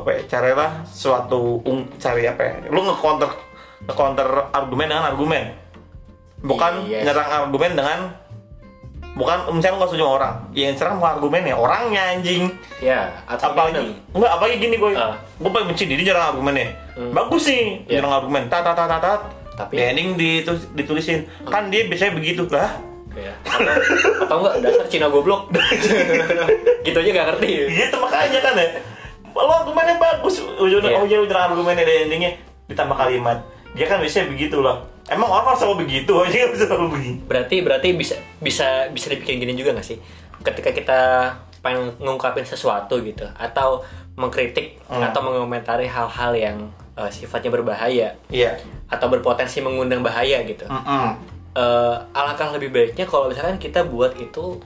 [SPEAKER 1] apa ya carilah suatu ung, cari apa ya lu ngecounter ngecounter argumen dengan argumen bukan
[SPEAKER 2] Yes.
[SPEAKER 1] nyerang argumen dengan bukan misalnya lu nggak setuju sama orang yang serang bukan argumennya orangnya anjing
[SPEAKER 2] Ya. Atau
[SPEAKER 1] apalagi enggak apalagi gini gue
[SPEAKER 2] Ah.
[SPEAKER 1] gue paling benci dia nyerang argumennya bagus sih
[SPEAKER 2] Iya.
[SPEAKER 1] nyerang argumen tat tat tat tat, tat
[SPEAKER 2] Tapi-
[SPEAKER 1] di ending ditu- ditulisin kan dia biasanya begitu lah
[SPEAKER 2] Iya. Atau, atau enggak dasar Cina goblok. [laughs] gitu aja gak ngerti.
[SPEAKER 1] Iya itu makanya kan ya. Lo argumennya bagus. Ujung
[SPEAKER 2] Iya.
[SPEAKER 1] oh iya udah argumennya dari endingnya ditambah kalimat. Dia kan biasanya begitu loh. Emang orang selalu begitu, aja [laughs] kan selalu begitu.
[SPEAKER 2] Berarti berarti bisa bisa bisa dibikin gini juga gak sih? Ketika kita pengen ngungkapin sesuatu gitu atau mengkritik atau mengomentari hal-hal yang eh, sifatnya berbahaya
[SPEAKER 1] Iya.
[SPEAKER 2] atau berpotensi mengundang bahaya gitu.
[SPEAKER 1] Mm-mm.
[SPEAKER 2] Eh, alangkah lebih baiknya kalau misalkan kita buat itu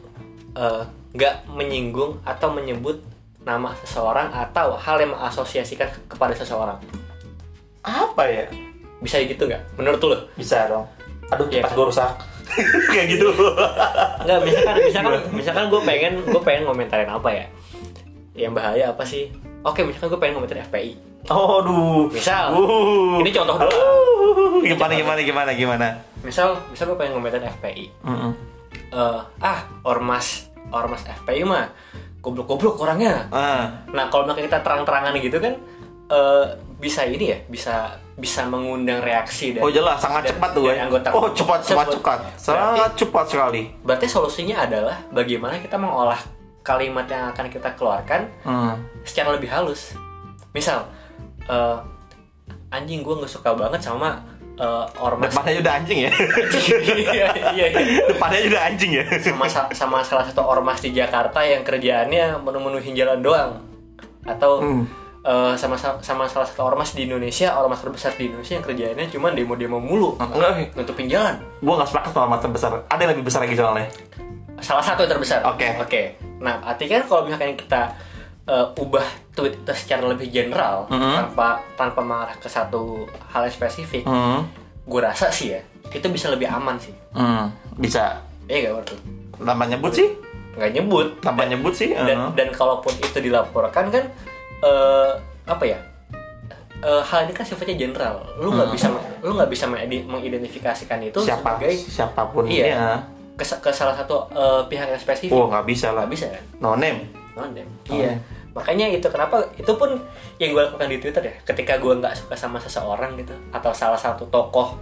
[SPEAKER 2] eh, nggak menyinggung atau menyebut nama seseorang atau hal yang mengasosiasikan kepada seseorang.
[SPEAKER 1] Apa ya?
[SPEAKER 2] Bisa gitu nggak? Menurut lu?
[SPEAKER 1] Bisa dong. Aduh
[SPEAKER 2] Iya
[SPEAKER 1] kipas
[SPEAKER 2] kan?
[SPEAKER 1] gue rusak. [laughs] Kayak gitu.
[SPEAKER 2] Enggak, misalkan misalkan misalkan gue pengen gue pengen ngomentarin apa ya? Yang bahaya apa sih? Oke, misalkan gue pengen ngomentarin FPI.
[SPEAKER 1] Oh, aduh.
[SPEAKER 2] Misal.
[SPEAKER 1] Uh.
[SPEAKER 2] Ini contoh doang.
[SPEAKER 1] Uh. Gimana gimana gimana gimana.
[SPEAKER 2] Misal, misal gue pengen ngomentarin FPI.
[SPEAKER 1] Mm-mm.
[SPEAKER 2] eh, ah ormas ormas FPI mah goblok-goblok orangnya
[SPEAKER 1] ah
[SPEAKER 2] Nah, kalau misalnya kita terang-terangan gitu kan eh, bisa ini ya, bisa bisa mengundang reaksi dan
[SPEAKER 1] oh jelas sangat
[SPEAKER 2] Iya. dan-
[SPEAKER 1] cepat tuh
[SPEAKER 2] dari
[SPEAKER 1] ya
[SPEAKER 2] anggota
[SPEAKER 1] oh cepat cepat
[SPEAKER 2] tersebut.
[SPEAKER 1] cepat sangat cepat sekali
[SPEAKER 2] Berarti solusinya adalah bagaimana kita mengolah kalimat yang akan kita keluarkan
[SPEAKER 1] hmm.
[SPEAKER 2] secara lebih halus. Misal eh, anjing gue nggak suka banget sama eh, ormas
[SPEAKER 1] depannya udah anjing ya
[SPEAKER 2] [laughs] Iya, iya, iya.
[SPEAKER 1] [laughs] depannya udah anjing ya
[SPEAKER 2] sama sa- sama salah satu ormas di Jakarta yang kerjaannya memenuhi jalan doang atau
[SPEAKER 1] Hmm.
[SPEAKER 2] eh, sama sama salah satu ormas di Indonesia ormas terbesar di Indonesia yang kerjaannya cuma demo-demo mulu
[SPEAKER 1] [laughs] enggak sih
[SPEAKER 2] nutupin jalan
[SPEAKER 1] gua nggak sepakat sama mata besar ada yang lebih besar lagi soalnya
[SPEAKER 2] salah satu yang terbesar
[SPEAKER 1] Oke.
[SPEAKER 2] oke nah artinya kan kalau misalkan kita eh, ubah tweet itu secara lebih general
[SPEAKER 1] Mhm.
[SPEAKER 2] tanpa tanpa mengarah ke satu hal yang spesifik
[SPEAKER 1] hmm.
[SPEAKER 2] gue rasa sih ya itu bisa lebih aman sih
[SPEAKER 1] hmm. bisa
[SPEAKER 2] iya gak menurut lu?
[SPEAKER 1] tambah nyebut sih
[SPEAKER 2] nggak nyebut
[SPEAKER 1] tambah nyebut sih eh.
[SPEAKER 2] dan dan kalaupun itu dilaporkan kan eh, apa ya Eh, hal ini kan sifatnya general lu nggak bisa lu nggak bisa mengedi- mengidentifikasikan itu
[SPEAKER 1] Uh, Mm. siapa
[SPEAKER 2] sebagai
[SPEAKER 1] siapapun
[SPEAKER 2] Iya.
[SPEAKER 1] dia
[SPEAKER 2] ke, ke salah satu eh, pihak yang spesifik
[SPEAKER 1] oh nggak bisa lah
[SPEAKER 2] nggak bisa kan
[SPEAKER 1] no name
[SPEAKER 2] non dem
[SPEAKER 1] Oh.
[SPEAKER 2] iya makanya itu kenapa itu pun yang gue lakukan di twitter ya ketika gue nggak suka sama seseorang gitu atau salah satu tokoh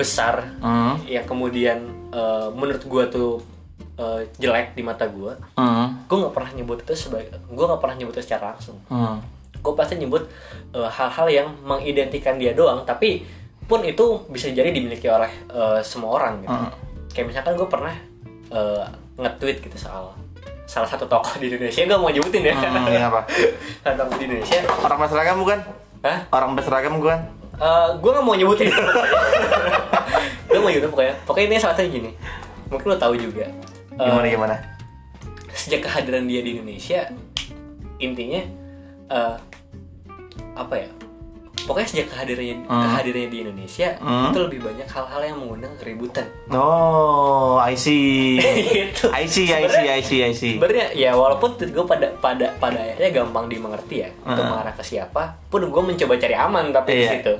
[SPEAKER 2] besar
[SPEAKER 1] hmm.
[SPEAKER 2] yang kemudian eh, menurut gue tuh eh, jelek di mata gue
[SPEAKER 1] Hmm.
[SPEAKER 2] gue nggak pernah nyebut itu sebagai gue nggak pernah nyebut itu secara langsung
[SPEAKER 1] Hmm.
[SPEAKER 2] gue pasti nyebut eh, hal-hal yang mengidentikan dia doang tapi pun itu bisa jadi dimiliki oleh eh, semua orang gitu
[SPEAKER 1] Hmm.
[SPEAKER 2] kayak misalkan gue pernah eh, nge-tweet gitu soal salah satu tokoh di Indonesia gue mau nyebutin ya
[SPEAKER 1] Hmm, ini apa?
[SPEAKER 2] [laughs] salah satu tokoh di Indonesia
[SPEAKER 1] Orang berseragam bukan?
[SPEAKER 2] Hah?
[SPEAKER 1] Orang berseragam bukan?
[SPEAKER 2] gue nggak mau nyebutin [laughs] gue mau nyebutin pokoknya pokoknya ini salah satu gini mungkin lo tahu juga Eh,
[SPEAKER 1] Gimana gimana?
[SPEAKER 2] sejak kehadiran dia di Indonesia intinya eh, apa ya pokoknya sejak kehadirannya
[SPEAKER 1] Hmm.
[SPEAKER 2] kehadirannya di Indonesia
[SPEAKER 1] Hmm.
[SPEAKER 2] itu lebih banyak hal-hal yang mengundang keributan
[SPEAKER 1] Oh, I
[SPEAKER 2] [laughs]
[SPEAKER 1] see.
[SPEAKER 2] Gitu.
[SPEAKER 1] I see, I see, I see, I see.
[SPEAKER 2] sebenarnya ya walaupun tweet gue pada pada pada akhirnya gampang dimengerti ya untuk
[SPEAKER 1] Hmm.
[SPEAKER 2] mengarah ke siapa pun gue mencoba cari aman tapi di
[SPEAKER 1] Iya.
[SPEAKER 2] situ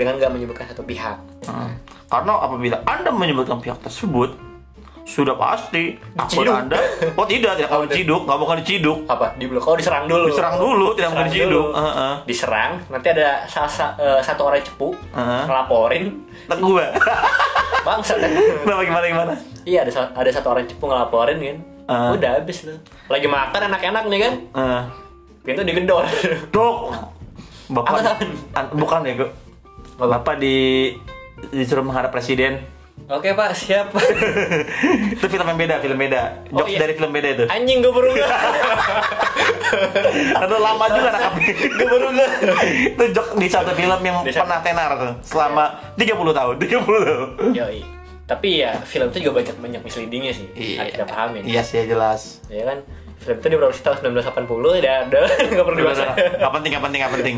[SPEAKER 2] dengan gak menyebutkan satu pihak
[SPEAKER 1] Hmm. Karena apabila Anda menyebutkan pihak tersebut, sudah pasti akun
[SPEAKER 2] Diciduk.
[SPEAKER 1] Anda oh tidak,
[SPEAKER 2] [laughs]
[SPEAKER 1] tidak akan diciduk, nggak mau akan diciduk.
[SPEAKER 2] apa di blok oh diserang dulu
[SPEAKER 1] Diserang dulu, tidak
[SPEAKER 2] Diserang
[SPEAKER 1] mungkin diciduk.
[SPEAKER 2] dulu.
[SPEAKER 1] Heeh.
[SPEAKER 2] diserang nanti ada salah sa- eh, satu orang cepu
[SPEAKER 1] Heeh.
[SPEAKER 2] ngelaporin
[SPEAKER 1] Tak [laughs] gua.
[SPEAKER 2] bangsat [laughs]
[SPEAKER 1] Kenapa gimana gimana?
[SPEAKER 2] Iya ada sa- ada satu orang cepu ngelaporin kan.
[SPEAKER 1] Ah.
[SPEAKER 2] Udah habis lu. Lagi makan enak-enak nih kan.
[SPEAKER 1] Heeh.
[SPEAKER 2] Pintu digedor.
[SPEAKER 1] Dok. Bapak
[SPEAKER 2] Apaan?
[SPEAKER 1] an- bukan ya, Gu. Bapak di disuruh menghadap presiden.
[SPEAKER 2] [laughs] [laughs] Oke Pak, siap.
[SPEAKER 1] itu film yang beda, film beda.
[SPEAKER 2] Oh,
[SPEAKER 1] Jokes
[SPEAKER 2] iya.
[SPEAKER 1] dari film beda itu.
[SPEAKER 2] [laughs] Anjing gue [laughs] berubah.
[SPEAKER 1] Aduh lama
[SPEAKER 2] [laughs]
[SPEAKER 1] juga nangkapnya
[SPEAKER 2] gue berubah.
[SPEAKER 1] Itu jok di satu film yang
[SPEAKER 2] Di satu- Iya.
[SPEAKER 1] pernah tenar tuh Selama 30 tahun 30 tahun
[SPEAKER 2] Yoi. Tapi ya film itu juga banyak banyak misleadingnya sih. Harus kita pahamin.
[SPEAKER 1] Iya sih ya jelas
[SPEAKER 2] Ya kan. Film itu diproduksi tahun 1980 udah udah [laughs] nggak perlu dibahas.
[SPEAKER 1] Gak penting, gak penting, gak penting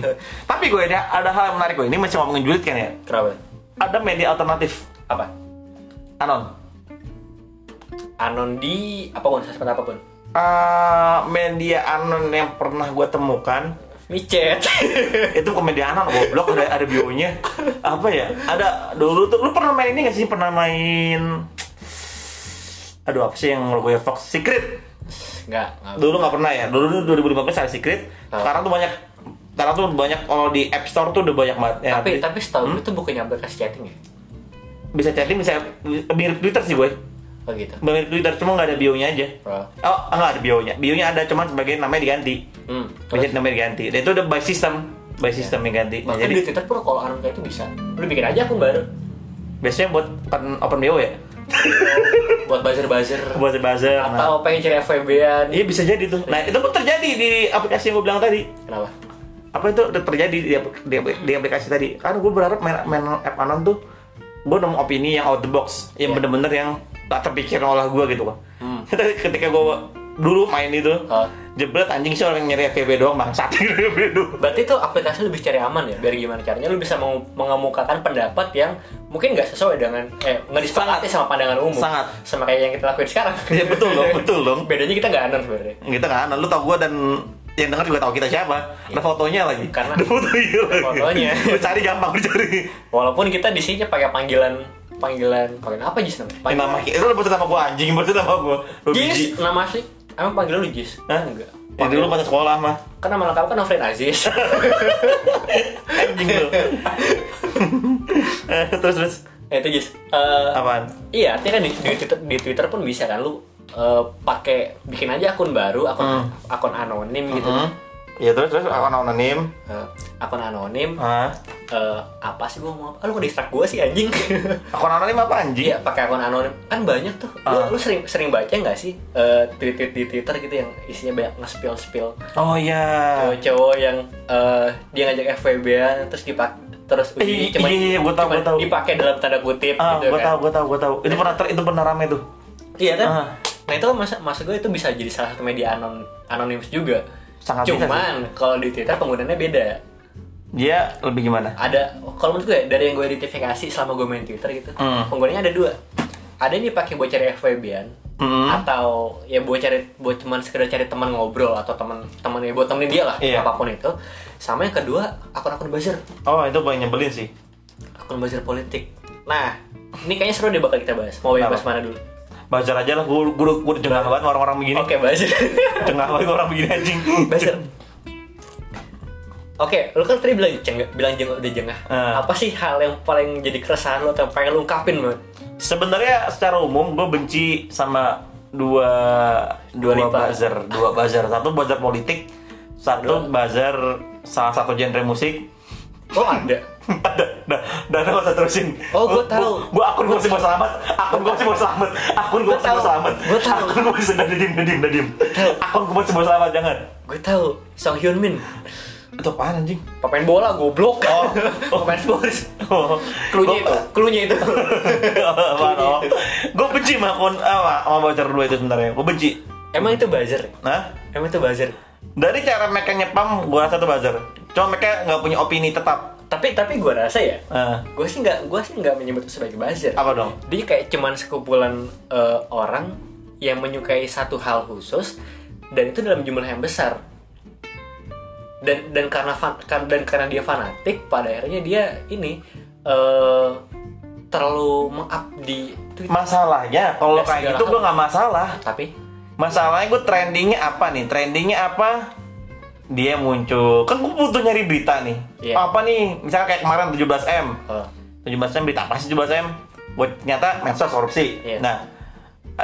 [SPEAKER 1] Tapi gue ada, ada hal yang menarik gue Ini masih ngomongin julid kan ya
[SPEAKER 2] Kenapa?
[SPEAKER 1] Ada media alternatif
[SPEAKER 2] Apa?
[SPEAKER 1] Anon
[SPEAKER 2] Anon di apapun, sosmed apapun.
[SPEAKER 1] Eh, Media anon yang pernah gue temukan
[SPEAKER 2] Micet. [laughs]
[SPEAKER 1] itu bukan media anon goblok ada ada bionya apa ya ada dulu tuh lu pernah main ini gak sih pernah main aduh apa sih yang logonya Fox Secret
[SPEAKER 2] Enggak, enggak.
[SPEAKER 1] dulu nggak pernah ya dulu tuh 2015 ada secret
[SPEAKER 2] Ah.
[SPEAKER 1] sekarang tuh banyak sekarang tuh banyak kalau di App Store tuh udah banyak banget ya,
[SPEAKER 2] Tapi
[SPEAKER 1] di-
[SPEAKER 2] tapi setahu gue itu bukannya aplikasi chatting ya?
[SPEAKER 1] bisa chatting bisa mirip Twitter sih gue
[SPEAKER 2] Oh gitu.
[SPEAKER 1] mirip Twitter cuma nggak ada bionya aja
[SPEAKER 2] Bro.
[SPEAKER 1] oh nggak ada bionya bionya ada cuman sebagai namanya diganti
[SPEAKER 2] Hmm.
[SPEAKER 1] biasanya namanya diganti dan itu udah by system by system yang ganti Nah,
[SPEAKER 2] Bahkan
[SPEAKER 1] jadi
[SPEAKER 2] di Twitter pun kalau orang kayak itu bisa. Lu bikin aja akun
[SPEAKER 1] [laughs]
[SPEAKER 2] baru
[SPEAKER 1] biasanya buat open, open bio ya
[SPEAKER 2] buat buzzer-buzzer
[SPEAKER 1] buat buzzer nah.
[SPEAKER 2] atau pengen cari FWB-an.
[SPEAKER 1] iya bisa jadi tuh nah itu pun terjadi di aplikasi yang gue bilang tadi
[SPEAKER 2] Kenapa?
[SPEAKER 1] apa itu udah terjadi di, apl- di, apl- di aplikasi tadi kan gue berharap main, main app anon tuh gue nemu opini yang out the box yang
[SPEAKER 2] Iya.
[SPEAKER 1] bener-bener yang tak terpikirkan oleh gue gitu kan
[SPEAKER 2] Hmm.
[SPEAKER 1] [laughs] ketika gue dulu main itu
[SPEAKER 2] Hah?
[SPEAKER 1] jebret anjing sih orang nyari FVB doang bangsat [laughs] FVB doang
[SPEAKER 2] Berarti itu aplikasi lebih cari aman ya, biar gimana caranya lu bisa meng- mengemukakan pendapat yang mungkin nggak sesuai dengan eh nggak disepakati sama pandangan umum.
[SPEAKER 1] Sangat.
[SPEAKER 2] Sama kayak yang kita lakuin
[SPEAKER 1] [laughs]
[SPEAKER 2] sekarang.
[SPEAKER 1] ya betul dong betul dong
[SPEAKER 2] Bedanya kita nggak anon sebenarnya.
[SPEAKER 1] gitu kan lu tau gue dan yang denger juga tau kita siapa ada fotonya lagi
[SPEAKER 2] Iya. Karena-
[SPEAKER 1] ada fotonya lagi [laughs]
[SPEAKER 2] fotonya.
[SPEAKER 1] lu cari gampang lu cari
[SPEAKER 2] Walaupun kita di sini pakai panggilan panggilan panggilan apa Jis namanya?
[SPEAKER 1] Ini
[SPEAKER 2] Panggilan.
[SPEAKER 1] nama kita lu berarti nama gua anjing berarti nama gua. Lu biji.
[SPEAKER 2] Jis nama asli. Emang panggilan lu Jis?
[SPEAKER 1] Hah?
[SPEAKER 2] Enggak.
[SPEAKER 1] Ya dulu pas sekolah mah.
[SPEAKER 2] Kan nama lengkap kan Alfred
[SPEAKER 1] [laughs]
[SPEAKER 2] Aziz.
[SPEAKER 1] Anjing
[SPEAKER 2] [laughs]
[SPEAKER 1] lu. Eh, terus terus
[SPEAKER 2] Ya, itu Jis. Eh,
[SPEAKER 1] apaan?
[SPEAKER 2] Iya, artinya kan di, di Twitter, di Twitter pun bisa kan lu eh, pakai bikin aja akun baru,
[SPEAKER 1] Hmm.
[SPEAKER 2] akun akun anonim gitu.
[SPEAKER 1] Hmm? Ya terus terus akun anonim.
[SPEAKER 2] Eh, akun anonim
[SPEAKER 1] Ah.
[SPEAKER 2] eh, apa sih gua mau? Ah, lu distract gua sih anjing.
[SPEAKER 1] Akun anonim apa anjing?
[SPEAKER 2] Iya, pakai akun anonim. Kan banyak tuh.
[SPEAKER 1] Ah.
[SPEAKER 2] Lu, lu sering sering baca nggak sih eh, tweet-tweet di Twitter gitu yang isinya banyak nge-spill-spill
[SPEAKER 1] Oh iya.
[SPEAKER 2] cowok-cowok yang eh, dia ngajak FWB-an terus dipak terus
[SPEAKER 1] Eh, iya, iya, iya, gua tahu,
[SPEAKER 2] cuman
[SPEAKER 1] gua tahu.
[SPEAKER 2] dipakai dalam tanda kutip
[SPEAKER 1] Ah,
[SPEAKER 2] gitu
[SPEAKER 1] gua
[SPEAKER 2] kan.
[SPEAKER 1] tahu, gua tahu, gua tahu. Itu pernah ter, itu pernah rame tuh.
[SPEAKER 2] Iya kan?
[SPEAKER 1] Ah.
[SPEAKER 2] Nah itu kan masa maksud gue itu bisa jadi salah satu media anon anonimus juga.
[SPEAKER 1] Sangat bisa
[SPEAKER 2] Cuman kalau di Twitter penggunaannya beda.
[SPEAKER 1] Dia lebih gimana?
[SPEAKER 2] Ada kalau menurut gue dari yang gue identifikasi selama gue main Twitter gitu,
[SPEAKER 1] Hmm.
[SPEAKER 2] penggunaannya ada dua. Ada yang dipakai buat cari FWB-an
[SPEAKER 1] Hmm.
[SPEAKER 2] atau ya buat cari buat cuman sekedar cari teman ngobrol atau teman teman ya buat temenin dia lah
[SPEAKER 1] Iya.
[SPEAKER 2] apapun itu. Sama yang kedua akun-akun buzzer,
[SPEAKER 1] Oh, itu paling nyebelin sih.
[SPEAKER 2] akun buzzer politik. Nah ini kayaknya seru deh bakal kita bahas. Mau bahas
[SPEAKER 1] Kenapa?
[SPEAKER 2] mana dulu?
[SPEAKER 1] Baca aja lah, gua gua gua udah jengah banget sama orang-orang
[SPEAKER 2] [laughs]
[SPEAKER 1] begini.
[SPEAKER 2] Oke buzzer.
[SPEAKER 1] Jengah banget orang begini anjing.
[SPEAKER 2] Buzzer. [laughs] Oke, lu kan tadi bilang jengah, bilang jengah udah jengah.
[SPEAKER 1] Eh.
[SPEAKER 2] Apa sih hal yang paling jadi keresahan lu atau yang pengen lu ungkapin banget?
[SPEAKER 1] Sebenarnya secara umum gue benci sama dua dua,
[SPEAKER 2] Dua lipa.
[SPEAKER 1] buzzer, dua buzzer. Satu buzzer politik, satu buzzer salah satu genre musik. [laughs]
[SPEAKER 2] Oh ada.
[SPEAKER 1] Dah, dah, dah, dah, usah terusin.
[SPEAKER 2] Oh, gua tahu.
[SPEAKER 1] Gue akun gue masih mau selamat, akun gue masih mau selamat, akun gue
[SPEAKER 2] Gua
[SPEAKER 1] masih mau
[SPEAKER 2] tahu.
[SPEAKER 1] selamat.
[SPEAKER 2] Gua tahu.
[SPEAKER 1] Akun gue masih udah diem, udah diem, udah diem. Akun gue masih mau selamat, jangan.
[SPEAKER 2] Gue tahu Song Hyun Min,
[SPEAKER 1] Itu apaan anjing?
[SPEAKER 2] pemain bola goblok.
[SPEAKER 1] Oh.
[SPEAKER 2] [laughs] pemain bola.
[SPEAKER 1] Oh,
[SPEAKER 2] Klunya itu,
[SPEAKER 1] Gua-
[SPEAKER 2] klunya itu. [laughs]
[SPEAKER 1] [laughs] gue benci sama akun eh, sama, sama buzzer dua itu sebenarnya. Gue benci.
[SPEAKER 2] Emang itu buzzer?
[SPEAKER 1] Nah,
[SPEAKER 2] Emang itu buzzer?
[SPEAKER 1] Dari cara mereka nyepam, gua rasa tuh buzzer. Cuma mereka nggak punya opini tetap.
[SPEAKER 2] Tapi tapi gue rasa ya,
[SPEAKER 1] Eh,
[SPEAKER 2] gue sih nggak gue sih nggak menyebut itu sebagai buzzer.
[SPEAKER 1] apa dong?
[SPEAKER 2] Dia kayak cuman sekumpulan eh, orang yang menyukai satu hal khusus dan itu dalam jumlah yang besar. Dan dan karena fan, kan- dan karena dia fanatik, pada akhirnya dia ini eh, terlalu mengap di Twitter.
[SPEAKER 1] Masalahnya kalau
[SPEAKER 2] Ya,
[SPEAKER 1] kayak
[SPEAKER 2] segala
[SPEAKER 1] gitu gua nggak masalah.
[SPEAKER 2] Tapi
[SPEAKER 1] Masalahnya gua trendingnya apa nih? Trendingnya apa? Dia muncul. Kan gua butuh nyari berita nih.
[SPEAKER 2] Iya.
[SPEAKER 1] Apa nih? Misalnya kayak kemarin 17M.
[SPEAKER 2] eh,
[SPEAKER 1] 17M berita apa sih 17M? Buat ternyata medsos korupsi.
[SPEAKER 2] Iya.
[SPEAKER 1] Nah,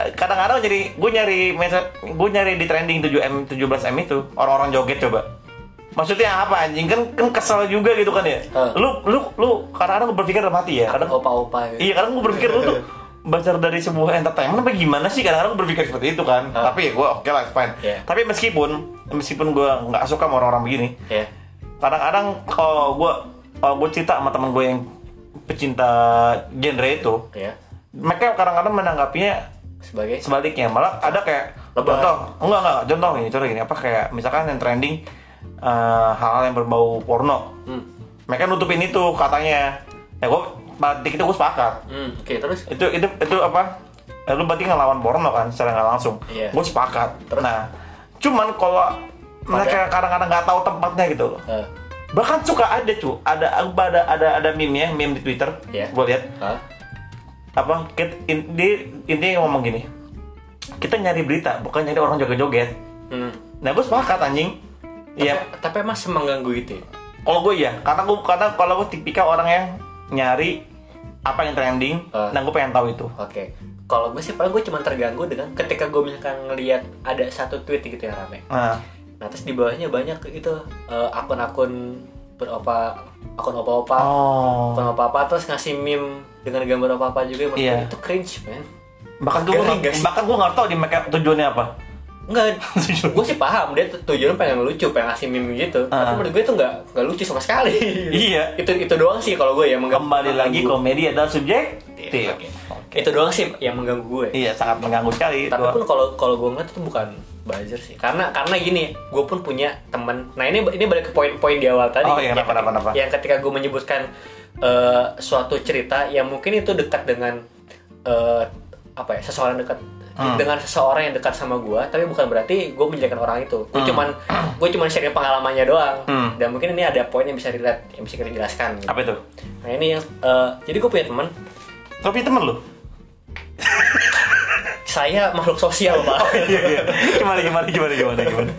[SPEAKER 1] eh, kadang-kadang jadi gue nyari medsos, gue nyari di trending 7M 17M itu orang-orang joget coba. Maksudnya apa anjing kan kan kesel juga gitu kan ya.
[SPEAKER 2] Heeh.
[SPEAKER 1] Lu lu lu kadang-kadang gue berpikir dalam hati ya.
[SPEAKER 2] kadang
[SPEAKER 1] Kadang
[SPEAKER 2] opa-opa gitu.
[SPEAKER 1] iya kadang gue berpikir lu tuh baca dari sebuah entertainment apa gimana sih kadang-kadang gue berpikir seperti itu kan.
[SPEAKER 2] Heeh.
[SPEAKER 1] Tapi ya gue oke lah fine.
[SPEAKER 2] Iya.
[SPEAKER 1] Tapi meskipun meskipun gue nggak suka sama orang-orang begini,
[SPEAKER 2] Ya.
[SPEAKER 1] kadang-kadang kalau gue kalau gue cerita sama teman gue yang pecinta genre itu
[SPEAKER 2] Ya.
[SPEAKER 1] mereka kadang-kadang menanggapinya
[SPEAKER 2] Sebagai
[SPEAKER 1] sebaliknya malah ada kayak
[SPEAKER 2] Lebay.
[SPEAKER 1] contoh enggak enggak contoh ini contoh gini apa kayak misalkan yang trending eh, hal-hal yang berbau porno
[SPEAKER 2] hmm.
[SPEAKER 1] mereka nutupin itu katanya ya gue batik itu gue sepakat
[SPEAKER 2] Hmm, oke terus
[SPEAKER 1] itu itu itu apa Eh, lu berarti ngelawan porno kan secara nggak langsung
[SPEAKER 2] Iya.
[SPEAKER 1] gue sepakat
[SPEAKER 2] Terus?
[SPEAKER 1] nah cuman kalau mereka kadang-kadang nggak tahu tempatnya gitu loh
[SPEAKER 2] eh,
[SPEAKER 1] bahkan suka ada cu ada ada ada ada meme ya meme di twitter
[SPEAKER 2] Iya.
[SPEAKER 1] gue lihat
[SPEAKER 2] ah,
[SPEAKER 1] apa kita in, di intinya ngomong gini kita nyari berita bukan nyari orang joget-joget
[SPEAKER 2] hmm.
[SPEAKER 1] nah gue sepakat anjing Iya,
[SPEAKER 2] Tapi, tapi emang semengganggu itu ya?
[SPEAKER 1] kalau gue ya, karena gue karena kalau gue tipikal orang yang nyari apa yang trending,
[SPEAKER 2] Ah.
[SPEAKER 1] nah gue pengen tahu itu.
[SPEAKER 2] Oke, kalau gue sih paling gue cuma terganggu dengan ketika gue misalkan ngelihat ada satu tweet gitu yang rame.
[SPEAKER 1] Nah,
[SPEAKER 2] Nah terus di bawahnya banyak itu eh, akun-akun beropa akun opa-opa,
[SPEAKER 1] oh,
[SPEAKER 2] akun opa-opa terus ngasih meme dengan gambar opa-opa juga. Maksud
[SPEAKER 1] Iya.
[SPEAKER 2] gue itu cringe man.
[SPEAKER 1] bahkan gue
[SPEAKER 2] Garing gak
[SPEAKER 1] nggak
[SPEAKER 2] sih?
[SPEAKER 1] bahkan gue nggak tahu di mereka tujuannya apa. [laughs]
[SPEAKER 2] Enggak,
[SPEAKER 1] Tujuan.
[SPEAKER 2] gue sih paham dia tu- tujuannya pengen lucu, pengen ngasih meme gitu.
[SPEAKER 1] Ah.
[SPEAKER 2] Tapi menurut gue itu nggak nggak lucu sama sekali.
[SPEAKER 1] Iya.
[SPEAKER 2] itu itu doang sih kalau gue ya mengganggu.
[SPEAKER 1] Kembali lagi komedi adalah subjektif.
[SPEAKER 2] Iya, Oke. Itu doang sih yang mengganggu gue.
[SPEAKER 1] Iya, sangat mengganggu sekali.
[SPEAKER 2] tapi
[SPEAKER 1] Gua-
[SPEAKER 2] pun kalau kalau gue ngeliat itu bukan buzzer sih karena karena gini gue pun punya teman nah ini ini balik ke poin-poin di awal tadi
[SPEAKER 1] Oh, iya,
[SPEAKER 2] yang,
[SPEAKER 1] kenapa, kenapa, kenapa?
[SPEAKER 2] yang ketika gue menyebutkan eh, suatu cerita yang mungkin itu dekat dengan eh, apa ya seseorang dekat
[SPEAKER 1] Hmm.
[SPEAKER 2] dengan seseorang yang dekat sama gue tapi bukan berarti gue menjelekan orang itu gue cuman gue cuman sharing pengalamannya doang
[SPEAKER 1] Hmm.
[SPEAKER 2] dan mungkin ini ada poin yang bisa relate yang bisa kita jelaskan gitu.
[SPEAKER 1] apa itu?
[SPEAKER 2] Nah ini yang eh, jadi gue punya teman
[SPEAKER 1] Tapi temen lu?
[SPEAKER 2] Saya makhluk sosial pak.
[SPEAKER 1] Iya, iya. Gimana, gimana, gimana, gimana, gimana?